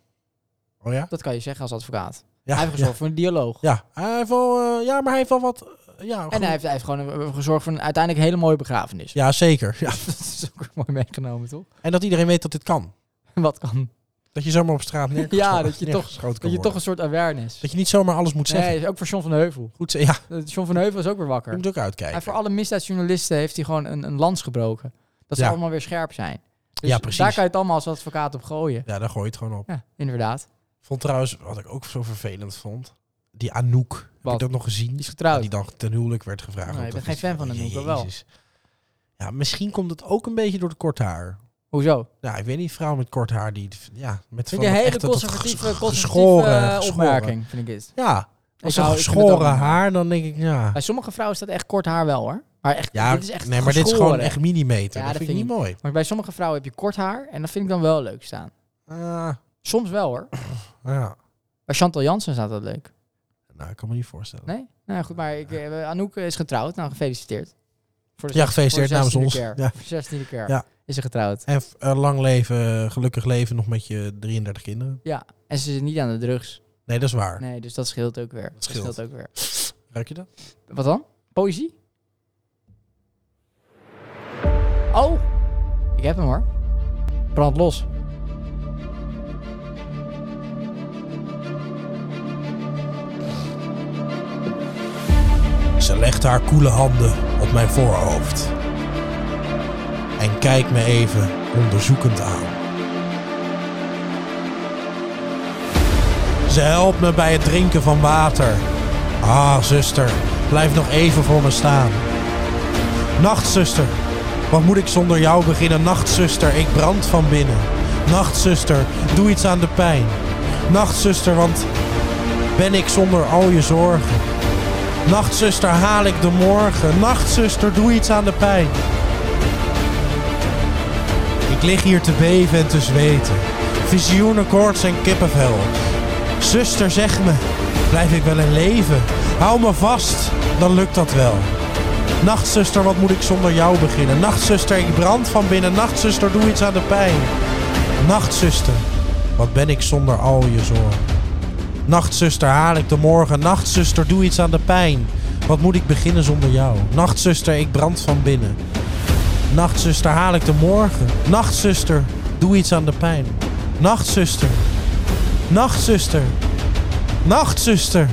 C: oh ja?
A: Dat kan je zeggen als advocaat.
C: Ja,
A: hij heeft
C: ja.
A: gezorgd voor een dialoog.
C: Ja, hij heeft wel, eh, ja, maar hij heeft wel wat. eh, ja,
A: En
C: goed.
A: hij heeft, hij heeft gewoon eh, gezorgd voor een uiteindelijk hele mooie begrafenis.
C: ja, zeker. Ja.
A: dat is ook mooi meegenomen, toch?
C: En dat iedereen weet dat dit kan.
A: Wat kan?
C: Dat Dat je zomaar op straat neer
A: Ja, dat je
C: neergeschoten
A: Dat
C: kan
A: je toch
C: worden.
A: een soort awareness.
C: Dat je niet zomaar alles moet zeggen.
A: Nee, ook voor John van Heuvel.
C: Goed, ze- ja,
A: Eh, John van Heuvel is ook weer
C: je
A: wakker.
C: moet ook
A: En voor
C: uitkijken.
A: alle misdaadjournalisten heeft hij gewoon een, een lans gebroken. Dat ze
C: Ja.
A: allemaal weer scherp zijn. Dus
C: Ja, precies.
A: daar kan je het allemaal als advocaat op gooien.
C: Ja, daar gooi je het gewoon op.
A: Ja, inderdaad.
C: Vond trouwens, wat ik ook zo vervelend vond, die Anouk. Heb je
A: Wat?
C: dat nog gezien?
A: Die is getrouwd.
C: Die dan ten huwelijk werd gevraagd.
A: Nee, ik
C: Dat
A: ben
C: is-
A: geen fan van Anouk, maar wel.
C: Jezus. Ja, misschien komt het ook een beetje door de kort haar.
A: Hoezo?
C: Nou, ik weet niet, vrouwen met kort haar die... Ja,
A: Vind
C: met
A: ik een
C: van dat-
A: hele
C: echt dat- dat
A: conservatieve,
C: ges-
A: conservatieve
C: geschoren,
A: eh,
C: geschoren.
A: opmerking, vind ik dit.
C: Ja, als
A: hou-
C: een
A: ik vind het ook
C: geschoren
A: niet.
C: haar, dan denk ik, ja...
A: Bij sommige vrouwen staat echt kort haar wel hoor. Maar echt,
C: Ja,
A: dit is echt
C: nee, maar dit is
A: geschoren.
C: gewoon echt millimeter.
A: Ja, dat
C: dat, vind ik niet mooi.
A: Maar bij sommige vrouwen heb je kort haar en dat vind ik dan wel leuk staan.
C: Ah,
A: Soms wel hoor.
C: ja.
A: Bij Chantal Jansen staat dat leuk.
C: Nou, ik kan me niet voorstellen.
A: Nee? Nou ja, goed, maar ik, eh, Anouk is getrouwd. Nou, gefeliciteerd. Voor
C: Ja, gefeliciteerd
A: voor de
C: namens
A: 16e
C: ons.
A: keer.
C: Ja.
A: Voor de 16e keer
C: Ja.
A: is ze getrouwd.
C: En f- eh, lang leven, gelukkig leven nog met je 33 kinderen.
A: Ja, en ze is niet aan de drugs.
C: Nee, dat is waar.
A: Nee, dus dat scheelt ook weer. Dat
C: scheelt.
A: ook weer.
C: Ruik je dat?
A: Wat dan? Poëzie? Oh, ik heb hem hoor. Brand los.
C: Ze legt haar koele handen op mijn voorhoofd. En kijkt me even onderzoekend aan. Ze helpt me bij het drinken van water. Ah, zuster, blijf nog even voor me staan. Nachtzuster, wat moet ik zonder jou beginnen? Nachtzuster, ik brand van binnen. Nachtzuster, doe iets aan de pijn. Nachtzuster, want ben ik zonder al je zorgen? Nachtzuster, haal ik de morgen. Nachtzuster, doe iets aan de pijn. Ik lig hier te beven en te zweten. Visioenen, koorts en kippenvel. Zuster, zeg me, blijf ik wel in leven? Hou me vast, dan lukt dat wel. Nachtzuster, wat moet ik zonder jou beginnen? Nachtzuster, ik brand van binnen. Nachtzuster, doe iets aan de pijn. Nachtzuster, wat ben ik zonder al je zorgen? Nachtzuster, haal ik de morgen. Nachtzuster, doe iets aan de pijn. Wat moet ik beginnen zonder jou? Nachtzuster, ik brand van binnen. Nachtzuster, haal ik de morgen. Nachtzuster, doe iets aan de pijn. Nachtzuster. Nachtzuster. Nachtzuster.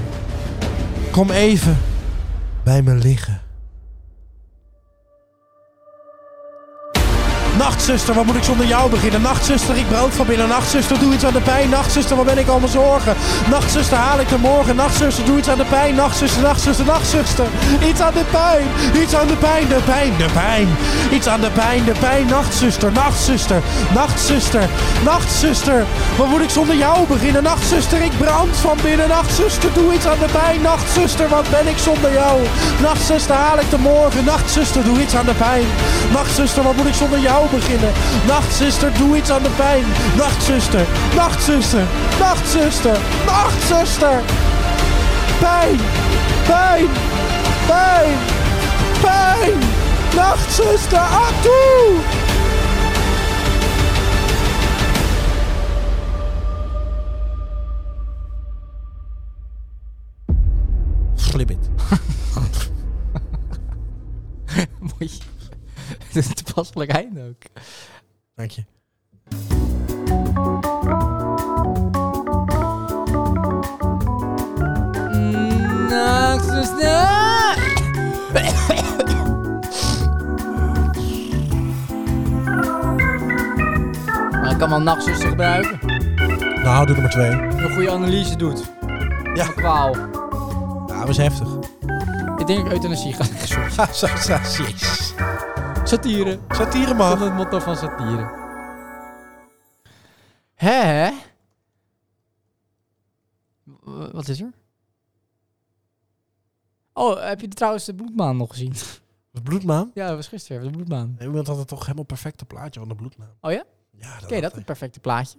C: Kom even bij me liggen. Nachtzuster, wat moet ik zonder jou beginnen? Nachtzuster, ik brand van binnen. Nachtzuster, doe iets aan de pijn. Nachtzuster, waar ben ik al mijn zorgen? Nachtzuster, haal ik de morgen. Nachtzuster, doe iets aan de pijn. Nachtzuster, nachtzuster, nachtzuster. Iets aan de pijn. Iets aan de pijn, de pijn, de pijn. Iets aan de pijn, de pijn. Nachtzuster, nachtzuster, nachtzuster, nachtzuster. Waar moet ik zonder jou beginnen? Nachtzuster, ik brand van binnen. Nachtzuster, doe iets aan de pijn. Nachtzuster, wat ben ik zonder jou? Nachtzuster, haal ik de morgen. Nachtzuster, doe iets aan de pijn. Nachtzuster, wat moet ik zonder jou beginnen? Nachtzuster, doe iets aan de pijn. Nachtzuster, nachtzuster, nachtzuster, nachtzuster. Pijn, pijn, pijn, pijn. Nachtzuster, ah, atoe! Flibbit.
A: Mooi. Het is een toepasselijk einde ook.
C: Dank je.
A: Maar ik kan wel nachtzuster gebruiken.
C: Nou, doe nummer twee.
A: Een goede analyse doet.
C: Ja.
A: Van kwaal.
C: Ja, was heftig.
A: Ik denk dat ik euthanasie ga leggen soms.
C: Ha, zo, zo, jezus.
A: Satire.
C: Satire
A: Dat is
C: mag.
A: het motto van satire. Hè? hè? W- Wat is er? Oh, heb je trouwens de bloedmaan nog gezien?
C: Bloedmaan.
A: Ja, dat was gisteren. De bloedmaan.
C: Iemand had het toch helemaal perfecte plaatje van de bloednaam.
A: Oh ja?
C: Ja, dat
A: Ken je dat?
C: had
A: Het
C: hij.
A: perfecte plaatje.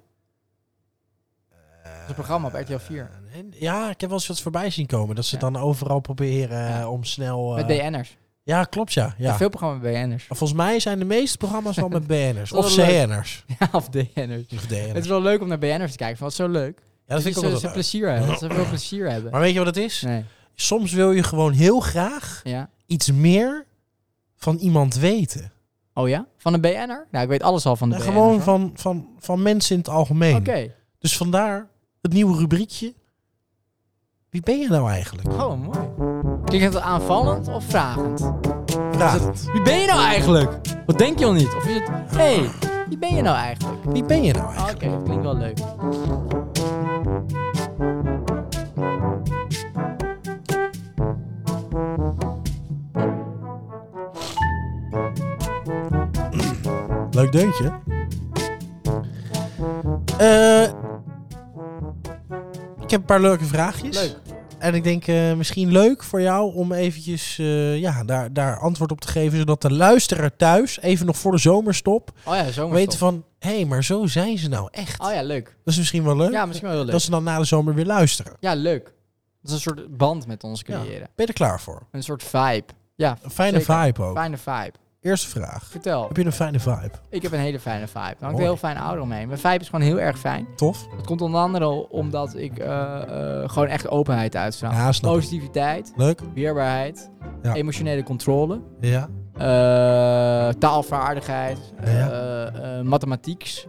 A: Dat is een programma op RTL 4.
C: Eh, en- ja, ik heb wel eens wat voorbij zien komen. Dat ze
A: Ja.
C: dan overal proberen eh, om snel... eh,
A: Met BN'ers.
C: Ja, klopt ja. ja.
A: Ja. Veel programma's met BN'ers.
C: Maar Volgens mij zijn de meeste programma's wel met BN'ers.
A: Dat
C: of
A: is wel leuk.
C: CN'ers.
A: Ja, of DN'ers.
C: Of
A: Het
C: DN'ers.
A: is wel leuk om naar BN'ers te kijken. Want het is zo leuk.
C: Ja, dat vind ik ook
A: dat
C: wel
A: ze
C: leuk.
A: plezier hebben. Dat ze veel plezier hebben.
C: Maar weet je wat het is?
A: Nee.
C: Soms wil je gewoon heel graag
A: Ja.
C: iets meer van iemand weten.
A: Oh ja? Van een BN'er? Nou, ik weet alles al van de
C: En
A: BN'er.
C: gewoon van, van, van mensen in het algemeen.
A: Oké.
C: Dus vandaar het nieuwe rubriekje. Wie ben je nou eigenlijk?
A: Oh, mooi. Klinkt het aanvallend of vragend?
C: Vraag het.
A: Wie ben je nou eigenlijk? Wat denk je al niet? Of is het... Hé, hey, wie ben je nou eigenlijk?
C: Wie ben je nou
A: Ah, Oké,
C: eigenlijk?
A: dat klinkt wel leuk. Oh Ah.
C: Leuk deuntje. Eh, ik heb een paar leuke vraagjes.
A: Leuk.
C: En ik denk eh, misschien leuk voor jou om eventjes eh, ja, daar, daar antwoord op te geven. Zodat de luisteraar thuis, even nog voor de zomerstop,
A: Oh ja, zomerstop.
C: weten van... Hé, hey, maar zo zijn ze nou echt.
A: Oh ja, leuk.
C: Dat is misschien wel leuk.
A: Ja, misschien wel heel leuk.
C: Dat ze dan na de zomer weer luisteren.
A: Ja, leuk. Dat is een soort band met ons
C: Ja.
A: creëren.
C: Ben je er klaar voor?
A: Een soort vibe. Ja,
C: Een fijne
A: Zeker.
C: vibe ook.
A: fijne vibe.
C: Eerste vraag.
A: Vertel.
C: Heb je een fijne vibe?
A: Ik heb een hele fijne vibe. Daar hangt
C: Mooi.
A: een heel fijn ouder omheen. Mijn vibe is gewoon heel erg fijn.
C: Tof?
A: Dat komt onder andere omdat ik eh, eh, gewoon echt openheid uitstraal.
C: Ja, snap ik.
A: Positiviteit,
C: Leuk?
A: weerbaarheid,
C: Ja.
A: emotionele controle,
C: Ja.
A: eh, taalvaardigheid,
C: Ja.
A: eh, eh, mathematieks.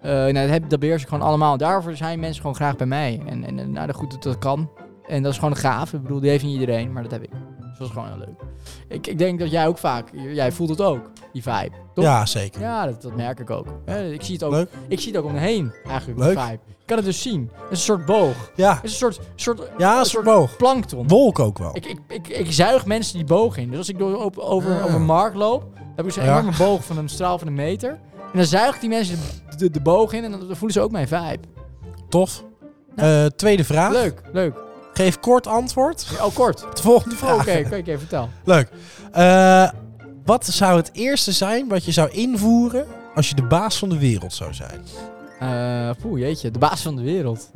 A: Eh, nou, dat, heb, dat beheers ik gewoon allemaal. Daarvoor zijn mensen gewoon graag bij mij. En, en eh, nou, dat goed dat dat kan. En dat is gewoon gaaf. Ik bedoel, die heeft niet iedereen, maar dat heb ik. Dus dat is gewoon heel leuk. Ik, ik denk dat jij ook vaak, jij voelt het ook, die vibe. Toch?
C: Ja, zeker.
A: Ja, dat, dat merk ik ook. Eh, ik, zie het ook
C: Leuk?
A: ik zie het ook om me heen, eigenlijk.
C: Leuk.
A: De vibe. Ik kan het dus zien. Het is een soort boog.
C: Ja.
A: Het is een soort, soort
C: Ja, een
A: een
C: soort
A: soort
C: boog.
A: plankton.
C: Wolk ook wel.
A: Ik, ik, ik, ik zuig mensen die boog in. Dus als ik door, op, over,
C: Ah.
A: over een markt loop, dan heb ik zo'n
C: Ja.
A: enorme boog van een straal van een meter. En dan zuigt die mensen de, de, de boog in en dan dan voelen ze ook mijn vibe.
C: Tof. Eh, tweede vraag.
A: Leuk, leuk.
C: Geef kort antwoord.
A: Ja, Oh, kort.
C: Op De volgende
A: Oh,
C: vraag.
A: Oké, oké, oké, vertel.
C: Leuk. Eh, wat zou het eerste zijn wat je zou invoeren als je de baas van de wereld zou zijn?
A: Eh poeh, jeetje. De baas van de wereld.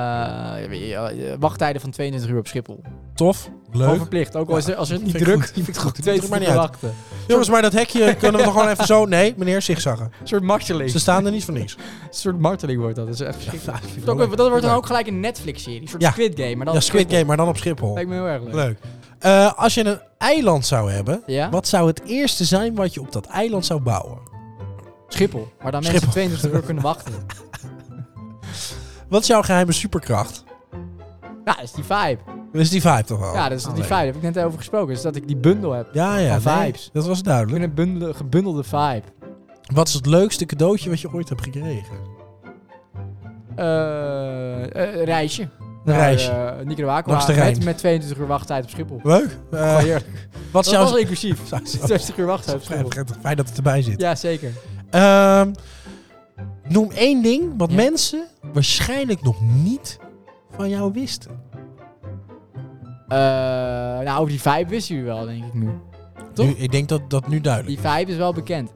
A: Eh, wachttijden van 22 uur op Schiphol.
C: Tof.
A: Gewoon
C: Leuk.
A: verplicht. Ook al is er- als het niet
C: Vind ik
A: drukt,
C: goed, vind ik goed. Doet er
A: 22
C: maar
A: uur
C: niet uit.
A: wachten.
C: Jongens, maar dat hekje kunnen we toch gewoon even zo... Nee, meneer, zigzaggen.
A: Een soort marteling.
C: Ze staan er niet voor niks.
A: Een soort marteling wordt dat. Dat is echt verschrikkelijk.
C: vind ik
A: dat,
C: wel leuk.
A: wordt- dat wordt dan
C: Leuk.
A: ook gelijk een Netflix-serie. Een soort
C: Ja.
A: Squid Game. Maar dan
C: Ja,
A: op
C: Squid
A: Schiphol.
C: Game, maar dan op Schiphol.
A: Lijkt me heel erg leuk.
C: Leuk. Eh, als je een eiland zou hebben,
A: Ja?
C: wat zou het eerste zijn wat je op dat eiland zou bouwen?
A: Schiphol. Maar dan
C: Schiphol.
A: mensen 22 uur kunnen wachten.
C: Wat is jouw geheime superkracht?
A: Ja, dat is die vibe.
C: Dat is die vibe toch wel?
A: ja, dat is die
C: leuk.
A: vibe. Daar heb ik net over gesproken. Dus dat ik die bundel heb.
C: oh, Ja, ja.
A: Van
C: nee,
A: vibes.
C: dat was
A: Ik ben
C: duidelijk.
A: een bundel- gebundelde vibe.
C: Wat is het leukste cadeautje wat je ooit hebt gekregen?
A: Eh, eh, reisje. Een
C: reisje.
A: Nicaragua.
C: Langs de Rijn.
A: Met, met 22 uur wachttijd op Schiphol.
C: Leuk. Eh,
A: Gewoon Oh, heerlijk.
C: wat is
A: Dat was
C: jouw...
A: wel inclusief.
C: Zou- zou-
A: 60 uur wachttijd op Schiphol.
C: Fijn fijn dat het erbij zit.
A: Ja, zeker.
C: Ehm, noem één ding wat
A: Ja.
C: mensen waarschijnlijk nog niet van jou wisten.
A: Eh, nou, over die vibe wisten jullie wel, denk ik nu. Toch?
C: Nu, ik denk dat dat nu duidelijk
A: Die vibe is wel bekend.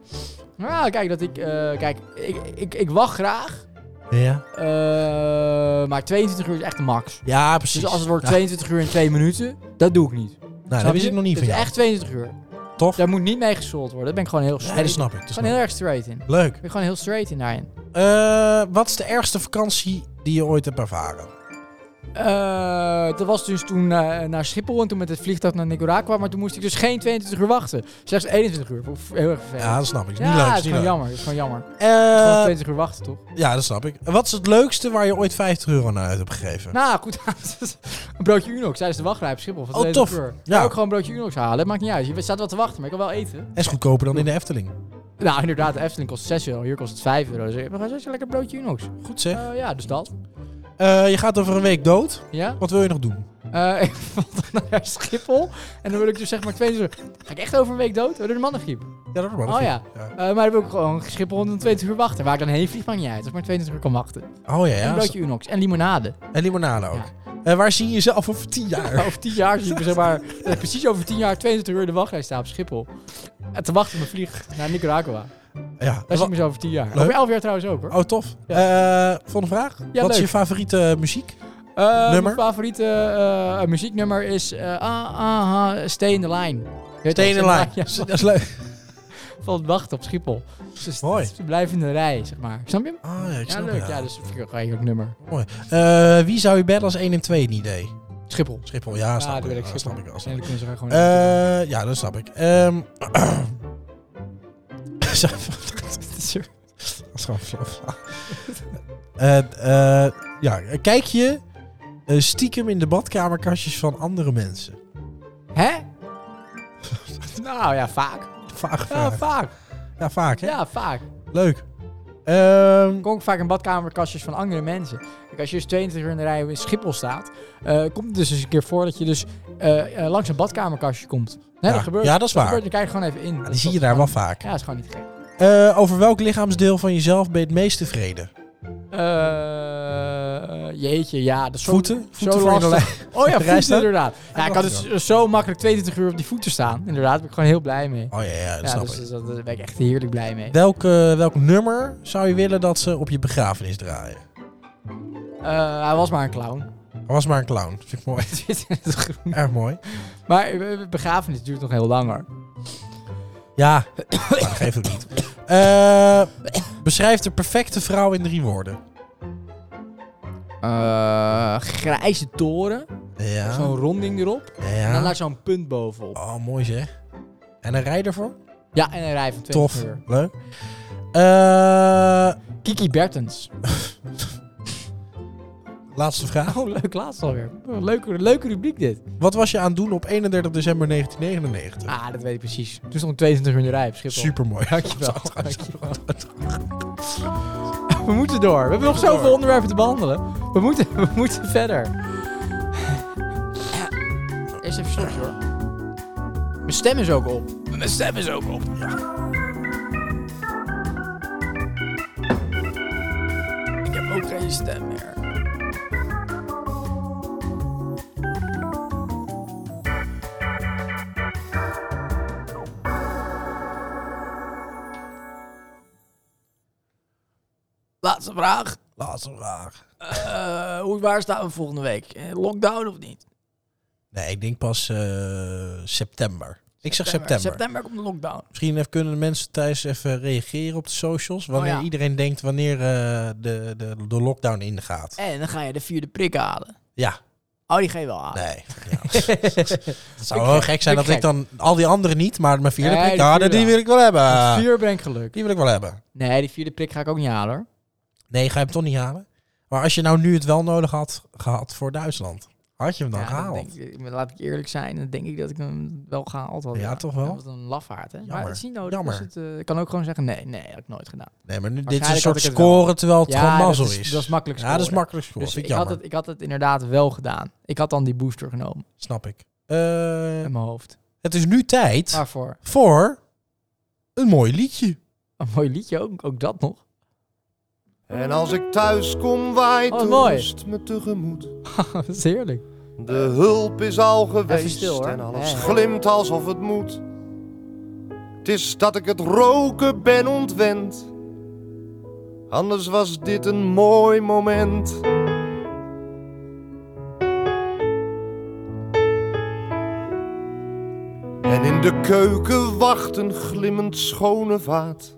A: Nou, kijk, dat ik, eh, kijk ik, ik, ik wacht graag.
C: is. Ja,
A: eh, maar 22 uur is echt de max.
C: ja precies.
A: Dus als het wordt
C: Nou,
A: 22 uur en 2 minuten, dat doe ik niet.
C: nou, dat
A: Snap
C: wist
A: je?
C: ik nog niet
A: Het
C: van
A: is
C: jou.
A: echt 22 uur.
C: Tof.
A: Daar moet niet mee gesold worden. Daar ben ik gewoon heel
C: Ja,
A: straight.
C: dat snap ik. dat snap
A: Gewoon heel erg straight in. Ik
C: ik. Leuk.
A: ben gewoon heel straight in daarin.
C: Eh, wat is de ergste vakantie die je ooit hebt ervaren?
A: Eh, dat was dus toen eh, naar Schiphol en toen met het vliegtuig naar Nicaragua. Maar toen moest ik dus geen 22 uur wachten. Slechts 21 uur. Vond ik Heel erg vervelend.
C: Ja, dat snap ik. Is
A: Ja,
C: niet leuk.
A: het
C: is
A: is
C: niet
A: gewoon
C: leuk.
A: jammer. Het is gewoon jammer.
C: Eh,
A: Gewoon 22 uur wachten, toch?
C: ja, dat snap ik. En Wat is het leukste waar je ooit 50 euro naar uit hebt gegeven?
A: Nou, goed. een broodje Unox tijdens de wachtrij op Schiphol. Van
C: Oh,
A: 22
C: tof.
A: uur.
C: Ja.
A: Ik kan ook gewoon een broodje Unox halen. Het maakt niet uit. Je staat wel te wachten, maar ik kan wel eten.
C: En is goedkoper dan in de Efteling.
A: Nou, inderdaad. De Efteling kost 6 euro. Hier kost het 5 euro. Dus ik heb gewoon zo'n lekker broodje Unox.
C: Goed zeg.
A: Eh, ja, dus dat.
C: Eh, je gaat over een week dood.
A: Ja.
C: Wat wil je nog doen?
A: Eh, ik vond naar Schiphol. En dan wil ik dus zeg maar 22 uur... Ga ik echt over een week dood? Door de mannengriep.
C: Ja, dat wordt
A: Oh ja. Eh, maar dan wil ik gewoon Schiphol 120 uur wachten. Waar ik dan heen vlieg, maakt niet uit. Als ik maar 22 uur kan wachten.
C: Oh ja,
A: en
C: ja.
A: een broodje Unox. En limonade.
C: En limonade ook. Eh, waar zie je jezelf over 10 jaar?
A: Over 10 jaar zie ik me, zeg maar... eh, precies over 10 jaar 22 uur in de wachtrij staan op Schiphol. En te wachten op mijn vlieg naar Nicaragua.
C: Ja.
A: Daar zie ik me zo over 10 jaar.
C: Leuk.
A: Over 11 jaar trouwens ook hoor.
C: Oh, tof. Eh, volgende vraag. Wat is
A: leuk.
C: je favoriete muziek?
A: Eh,
C: nummer?
A: Mijn favoriete eh, eh, muzieknummer is eh, ah, ah, ah, Stay in the Line. Je weet
C: Stay in
A: wel,
C: the line.
A: Ja,
C: Dat is leuk.
A: van het wachten op Schiphol. Ze, ze-
C: Mooi.
A: ze blijven in de rij, zeg maar. Snap je hem?
C: Ah ja, ik
A: Ja,
C: snap
A: leuk.
C: het,
A: Ja, dus vind ik ook een heerlijk nummer.
C: Mooi. Eh, wie zou je bellen als 1 en 2 een idee?
A: Schiphol.
C: Schiphol, ja, snap
A: dat
C: ik.
A: wil ik
C: Ja,
A: Schiphol.
C: Eh, snap ik wel.
A: En dan kunnen ze gewoon...
C: Eh, ja, dat snap ik. Ehm, Dat is gewoon flauw. Eh, eh, ja, kijk je eh, stiekem in de badkamerkastjes van andere mensen? Eh.
A: Hè? nou ja, vaak.
C: Vaak,
A: Ja,
C: vaak.
A: vaak.
C: Ja, vaak, hè?
A: Ja, vaak.
C: Leuk. Ehm,
A: kom ik vaak in badkamerkastjes van andere mensen. Kijk, als je dus 22 uur in de rij in Schiphol staat, eh, komt het dus eens een keer voor dat je dus eh, eh, langs een badkamerkastje komt. Nee,
C: Ja.
A: dat gebeurt.
C: Ja, dat is waar.
A: gebeurt, dan kijk je gewoon even in.
C: die zie je daar wel vaak.
A: Ja, dat is gewoon niet gek.
C: Eh, over welk lichaamsdeel van jezelf ben je het meest tevreden?
A: Eh, jeetje, ja. Dat is zo,
C: Voeten?
A: Zo
C: Voeten voor in de
A: lastig. Oh ja,
C: rij
A: voeten
C: staan?
A: inderdaad. Ja,
C: Ja,
A: ik kan
C: wacht
A: dus zo makkelijk 22 uur op die voeten staan. Inderdaad, daar ben ik gewoon heel blij mee.
C: Oh ja, ja dat
A: ja,
C: snap
A: dus,
C: ik.
A: dus dat- daar ben ik echt heerlijk blij mee.
C: Welk, eh, welk nummer zou je willen dat ze op je begrafenis draaien?
A: Eh, hij was maar een clown.
C: Er was maar een clown. Vind ik mooi. Erg mooi.
A: maar eh, begrafenis duurt nog heel langer.
C: Ja, maar dat geeft Nou, het niet. Eh, beschrijf de perfecte vrouw in drie woorden.
A: Eh, grijze toren.
C: Ja.
A: Zo'n ronding erop. En dan
C: ja.
A: daar zo'n punt bovenop.
C: Oh, mooi zeg. En een rij ervoor?
A: Ja, en een rij van 20
C: Tof.
A: uur.
C: Leuk. Eh,
A: Kiki Bertens.
C: laatste vraag.
A: Oh, leuk laatst alweer. Oh, Leuke, leuke rubriek dit.
C: Wat was je aan het doen op 31 december 1999?
A: Ah, dat weet ik precies. Toen stond ik 22 uur in de rij op Schiphol.
C: Supermooi.
A: Dankjewel. Dankjewel. We moeten door. We hebben nog zoveel onderwerpen te behandelen. We moeten, we moeten verder. Eerst even slokje hoor. Mijn stem is ook op. Mijn stem is ook op. Ik heb ook geen stem meer. Laatste vraag.
C: Laatste vraag.
A: Eh, hoe, waar staan we volgende week? Eh, Lockdown of niet?
C: Nee, ik denk pas eh, september. Ik zeg september.
A: September komt de lockdown.
C: Misschien even kunnen de mensen thuis even reageren op de socials. Wanneer
A: Oh ja.
C: iedereen denkt wanneer eh, de, de, de lockdown ingaat.
A: En dan ga je de vierde prik halen.
C: Ja,
A: Oh, die ga je wel halen.
C: nee. Ja. Het zou wel gek zijn
A: Vind
C: dat
A: ik
C: ik dan al die anderen niet, maar mijn vierde
A: Nee,
C: prik,
A: die
C: ja,
A: vierde
C: die
A: wel.
C: wil ik wel hebben.
A: Vier ben ik geluk.
C: Die wil ik wel hebben.
A: Nee, die vierde prik ga ik ook niet halen hoor.
C: Nee, ga je hem toch niet halen? Maar als je nou nu het wel nodig had gehad voor Duitsland, had je hem dan
A: Ja, dat
C: gehaald?
A: denk ik- maar laat ik eerlijk zijn, dan denk ik dat ik hem wel gehaald had.
C: Ja, toch
A: Dat
C: wel?
A: was een lafhaard, hè? Maar
C: Jammer.
A: het is niet nodig.
C: Jammer.
A: dus het, eh, ik kan ook gewoon zeggen, nee, nee, heb ik nooit gedaan.
C: Nee, maar nu, dit is een
A: Waarschijnlijk had
C: soort
A: ik het wel.
C: scoren terwijl het
A: Ja,
C: gewoon
A: dat
C: mazzel
A: is-
C: is,
A: dat is makkelijk
C: Ja, dat is
A: scoren.
C: makkelijk scoren.
A: dus
C: Vind
A: ik
C: ik
A: had,
C: jammer.
A: het, ik had het inderdaad wel gedaan. Ik had dan die booster genomen
C: Snap ik. Eh,
A: in mijn hoofd.
C: het is nu tijd
A: Waarvoor?
C: voor een mooi liedje.
A: Een mooi liedje ook, ook dat nog.
B: En als ik thuis kom, waait
A: Oh,
B: de
A: mooi.
B: rust me tegemoet.
A: dat is heerlijk.
B: De hulp is al geweest
A: stil, hoor.
B: en alles
A: Ja, ja.
B: glimt alsof het moet. Het is dat ik het roken ben ontwend. Anders was dit een mooi moment. En in de keuken wacht een glimmend schone vaat.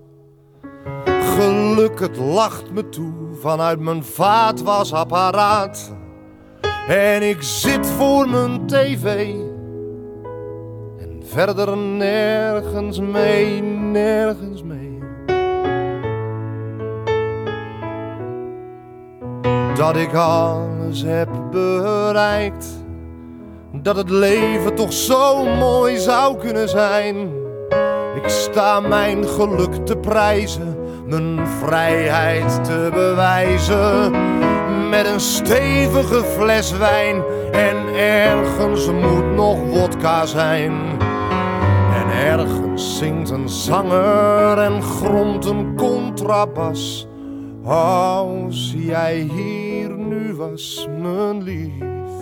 B: Geluk, het lacht me toe vanuit mijn vaatwasapparaat. En ik zit voor mijn tv. En verder nergens mee, nergens mee. Dat ik alles heb bereikt. Dat het leven toch zo mooi zou kunnen zijn. Ik sta mijn geluk te prijzen, mijn vrijheid te bewijzen. Met een stevige fles wijn en ergens moet nog wodka zijn. En ergens zingt een zanger en gromt een contrabas. Als jij hier nu was, mijn lief,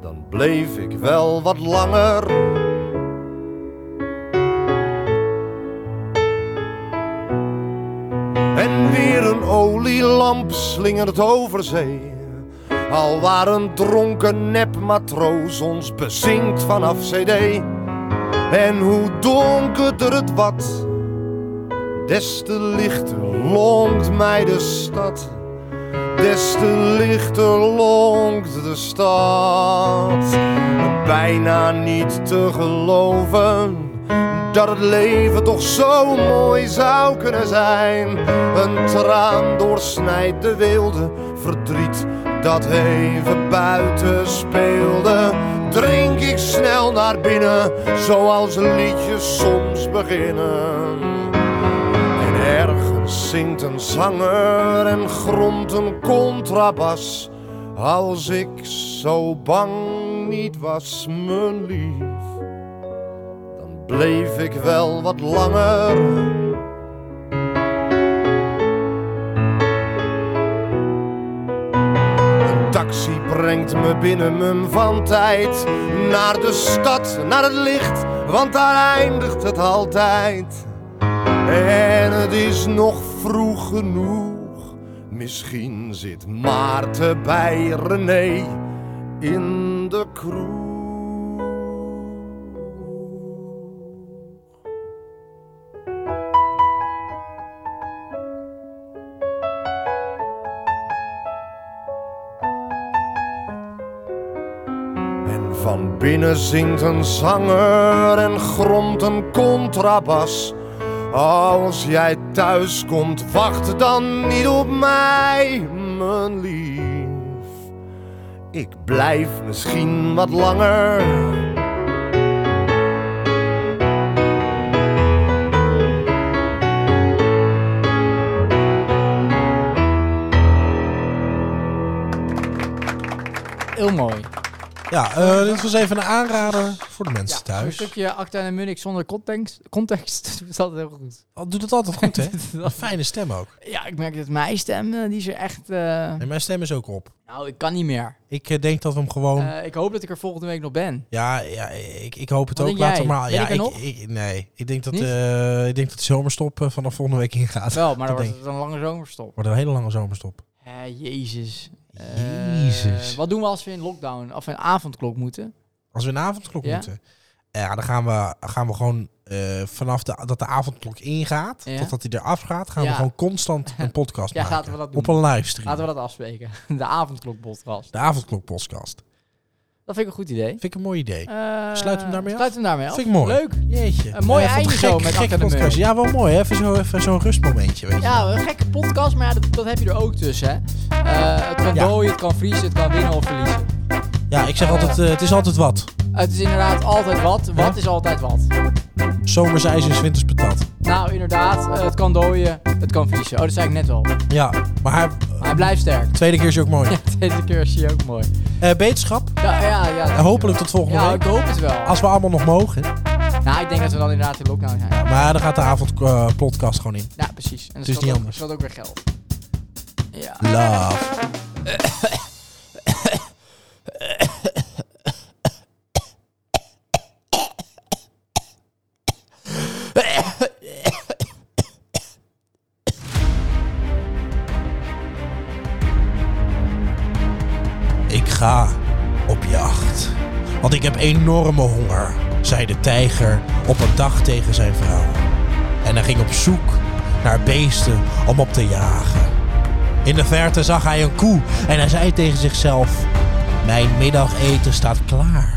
B: dan bleef ik wel wat langer. En weer een olielamp slingert over zee. Al waar een dronken nepmatroos ons bezinkt vanaf CD. En hoe donkerder het wat, des te lichter lonkt mij de stad. Des te lichter lonkt de stad. Bijna niet te geloven dat het leven toch zo mooi zou kunnen zijn. Een traan doorsnijdt de wilde verdriet dat even buiten speelde. Drink ik snel naar binnen, zoals liedjes soms beginnen. En ergens zingt een zanger en gromt een contrabas. Als ik zo bang niet was, mijn lief, dan bleef ik wel wat langer. Een taxi brengt me binnen mijn van tijd naar de stad, naar het licht, want daar eindigt het altijd. En het is nog vroeg genoeg. Misschien zit Maarten bij René in de kroeg. En van binnen zingt een zanger en gromt een contrabas. Als jij thuis komt, wacht dan niet op mij, mijn lief. Ik blijf misschien wat langer.
A: Heel mooi.
C: Ja, eh, dit was even een aanrader voor de mensen
A: Een
C: thuis.
A: stukje Acta en Munich zonder context, context dat is altijd heel goed.
C: Oh, doet het altijd goed, hè?
A: Dat-
C: Fijne stem ook.
A: Ja, ik merk dat mijn stem, eh, die is er echt... eh,
C: En mijn stem is ook op.
A: Nou, ik kan niet meer.
C: Ik eh, denk dat we hem gewoon...
A: Eh, ik hoop dat ik er volgende week nog ben.
C: Ja, ja ik, ik hoop het
A: Wat
C: ook.
A: denk
C: Later
A: jij?
C: maar.
A: Ben
C: ja,
A: ik er nog?
C: nee, ik denk dat,
A: Niet?
C: eh, ik denk dat de zomerstop eh, vanaf volgende week ingaat.
A: Wel, maar
C: dat
A: dan wordt
C: denk
A: het een lange zomerstop.
C: Wordt een hele lange zomerstop.
A: Eh, jezus. Eh,
C: Jezus.
A: wat doen we als we in lockdown of in avondklok moeten?
C: Als we een avondklok
A: Ja?
C: moeten. eh, Ja, dan gaan we, gaan we gewoon eh, vanaf de, dat de avondklok ingaat,
A: Ja.
C: totdat hij eraf gaat, gaan
A: Ja.
C: we gewoon constant een podcast
A: Ja,
C: maken.
A: laten we dat doen.
C: Op een livestream.
A: Laten we dat afspreken. De avondklok podcast.
C: De avondklok podcast.
A: Dat vind ik een goed idee.
C: Vind ik een mooi idee.
A: Eh,
C: Sluit hem daarmee af?
A: Sluit hem daarmee af.
C: Vind ik mooi.
A: Leuk.
C: Jeetje.
A: Een mooi
C: Eh, wat
A: einde
C: gek-
A: zo met
C: gekke
A: Achter de
C: podcast.
A: Muur.
C: Ja, wel mooi. hè? Even zo'n even zo'n rustmomentje, weet je.
A: Ja, een gekke podcast, maar ja, dat, dat heb je er ook tussen. Hè? Eh, het kan
C: Ja.
A: dooien, het kan vriezen, het kan winnen of verliezen.
C: Ja, ik zeg altijd, eh, het is altijd wat.
A: Het is inderdaad altijd wat. Wat is altijd wat.
C: Zomers ijs en 's winters patat.
A: Nou, inderdaad, eh, het kan dooien, het kan vriezen. Oh, dat zei ik net al. Maar
C: Ja, maar haar
A: hij blijft sterk.
C: tweede keer is ook mooi.
A: Ja, deze keer zie je ook mooi.
C: Eh, beterschap.
A: Ja, ja, ja.
C: En hopelijk tot volgende
A: Ja,
C: week. Ah.
A: ik hoop het wel.
C: Als we allemaal nog mogen.
A: Nou, ik denk dat we dan inderdaad in lockdown zijn.
C: Maar dan gaat de avondpodcast gewoon in.
A: Ja, precies. En dat
C: is
A: scheelt
C: niet
A: ook-
C: anders.
A: scheelt ook weer geld. Ja.
C: Love. Ik ga op jacht, want ik heb enorme honger, zei de tijger op een dag tegen zijn vrouw. En hij ging op zoek naar beesten om op te jagen. In de verte zag hij een koe en hij zei tegen zichzelf: Mijn middageten staat klaar.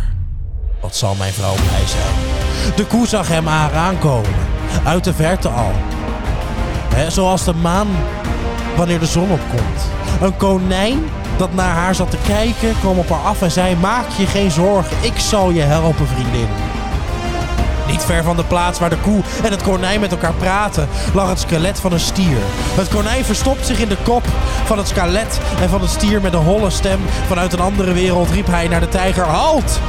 C: Wat zal mijn vrouw blij zijn? De koe zag hem aan aankomen, uit de verte al. Hè, zoals de maan wanneer de zon opkomt. Een konijn dat naar haar zat te kijken kwam op haar af en zei: Maak je geen zorgen, ik zal je helpen, vriendin. Niet ver van de plaats waar de koe en het konijn met elkaar praten, lag het skelet van een stier. Het konijn verstopt zich in de kop van het skelet en van het stier met een holle stem vanuit een andere wereld riep hij naar de tijger: Halt!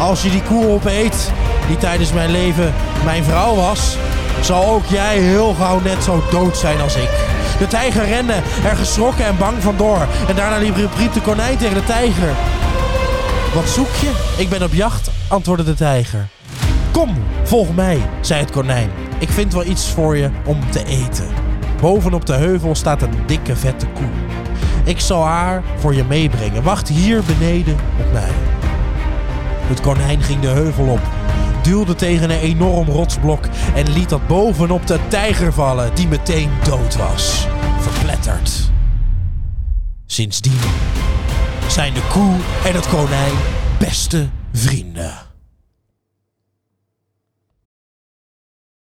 C: Als je die koe opeet, die tijdens mijn leven mijn vrouw was, zal ook jij heel gauw net zo dood zijn als ik. De tijger rende er geschrokken en bang vandoor. En daarna liep, riep de konijn tegen de tijger: Wat zoek je? Ik ben op jacht, antwoordde de tijger. Kom, volg mij, zei het konijn. Ik vind wel iets voor je om te eten. Bovenop de heuvel staat een dikke vette koe. Ik zal haar voor je meebrengen. Wacht hier beneden op mij. Het konijn ging de heuvel op, duwde tegen een enorm rotsblok en liet dat bovenop de tijger vallen, die meteen dood was. Verpletterd. Sindsdien zijn de koe en het konijn beste vrienden.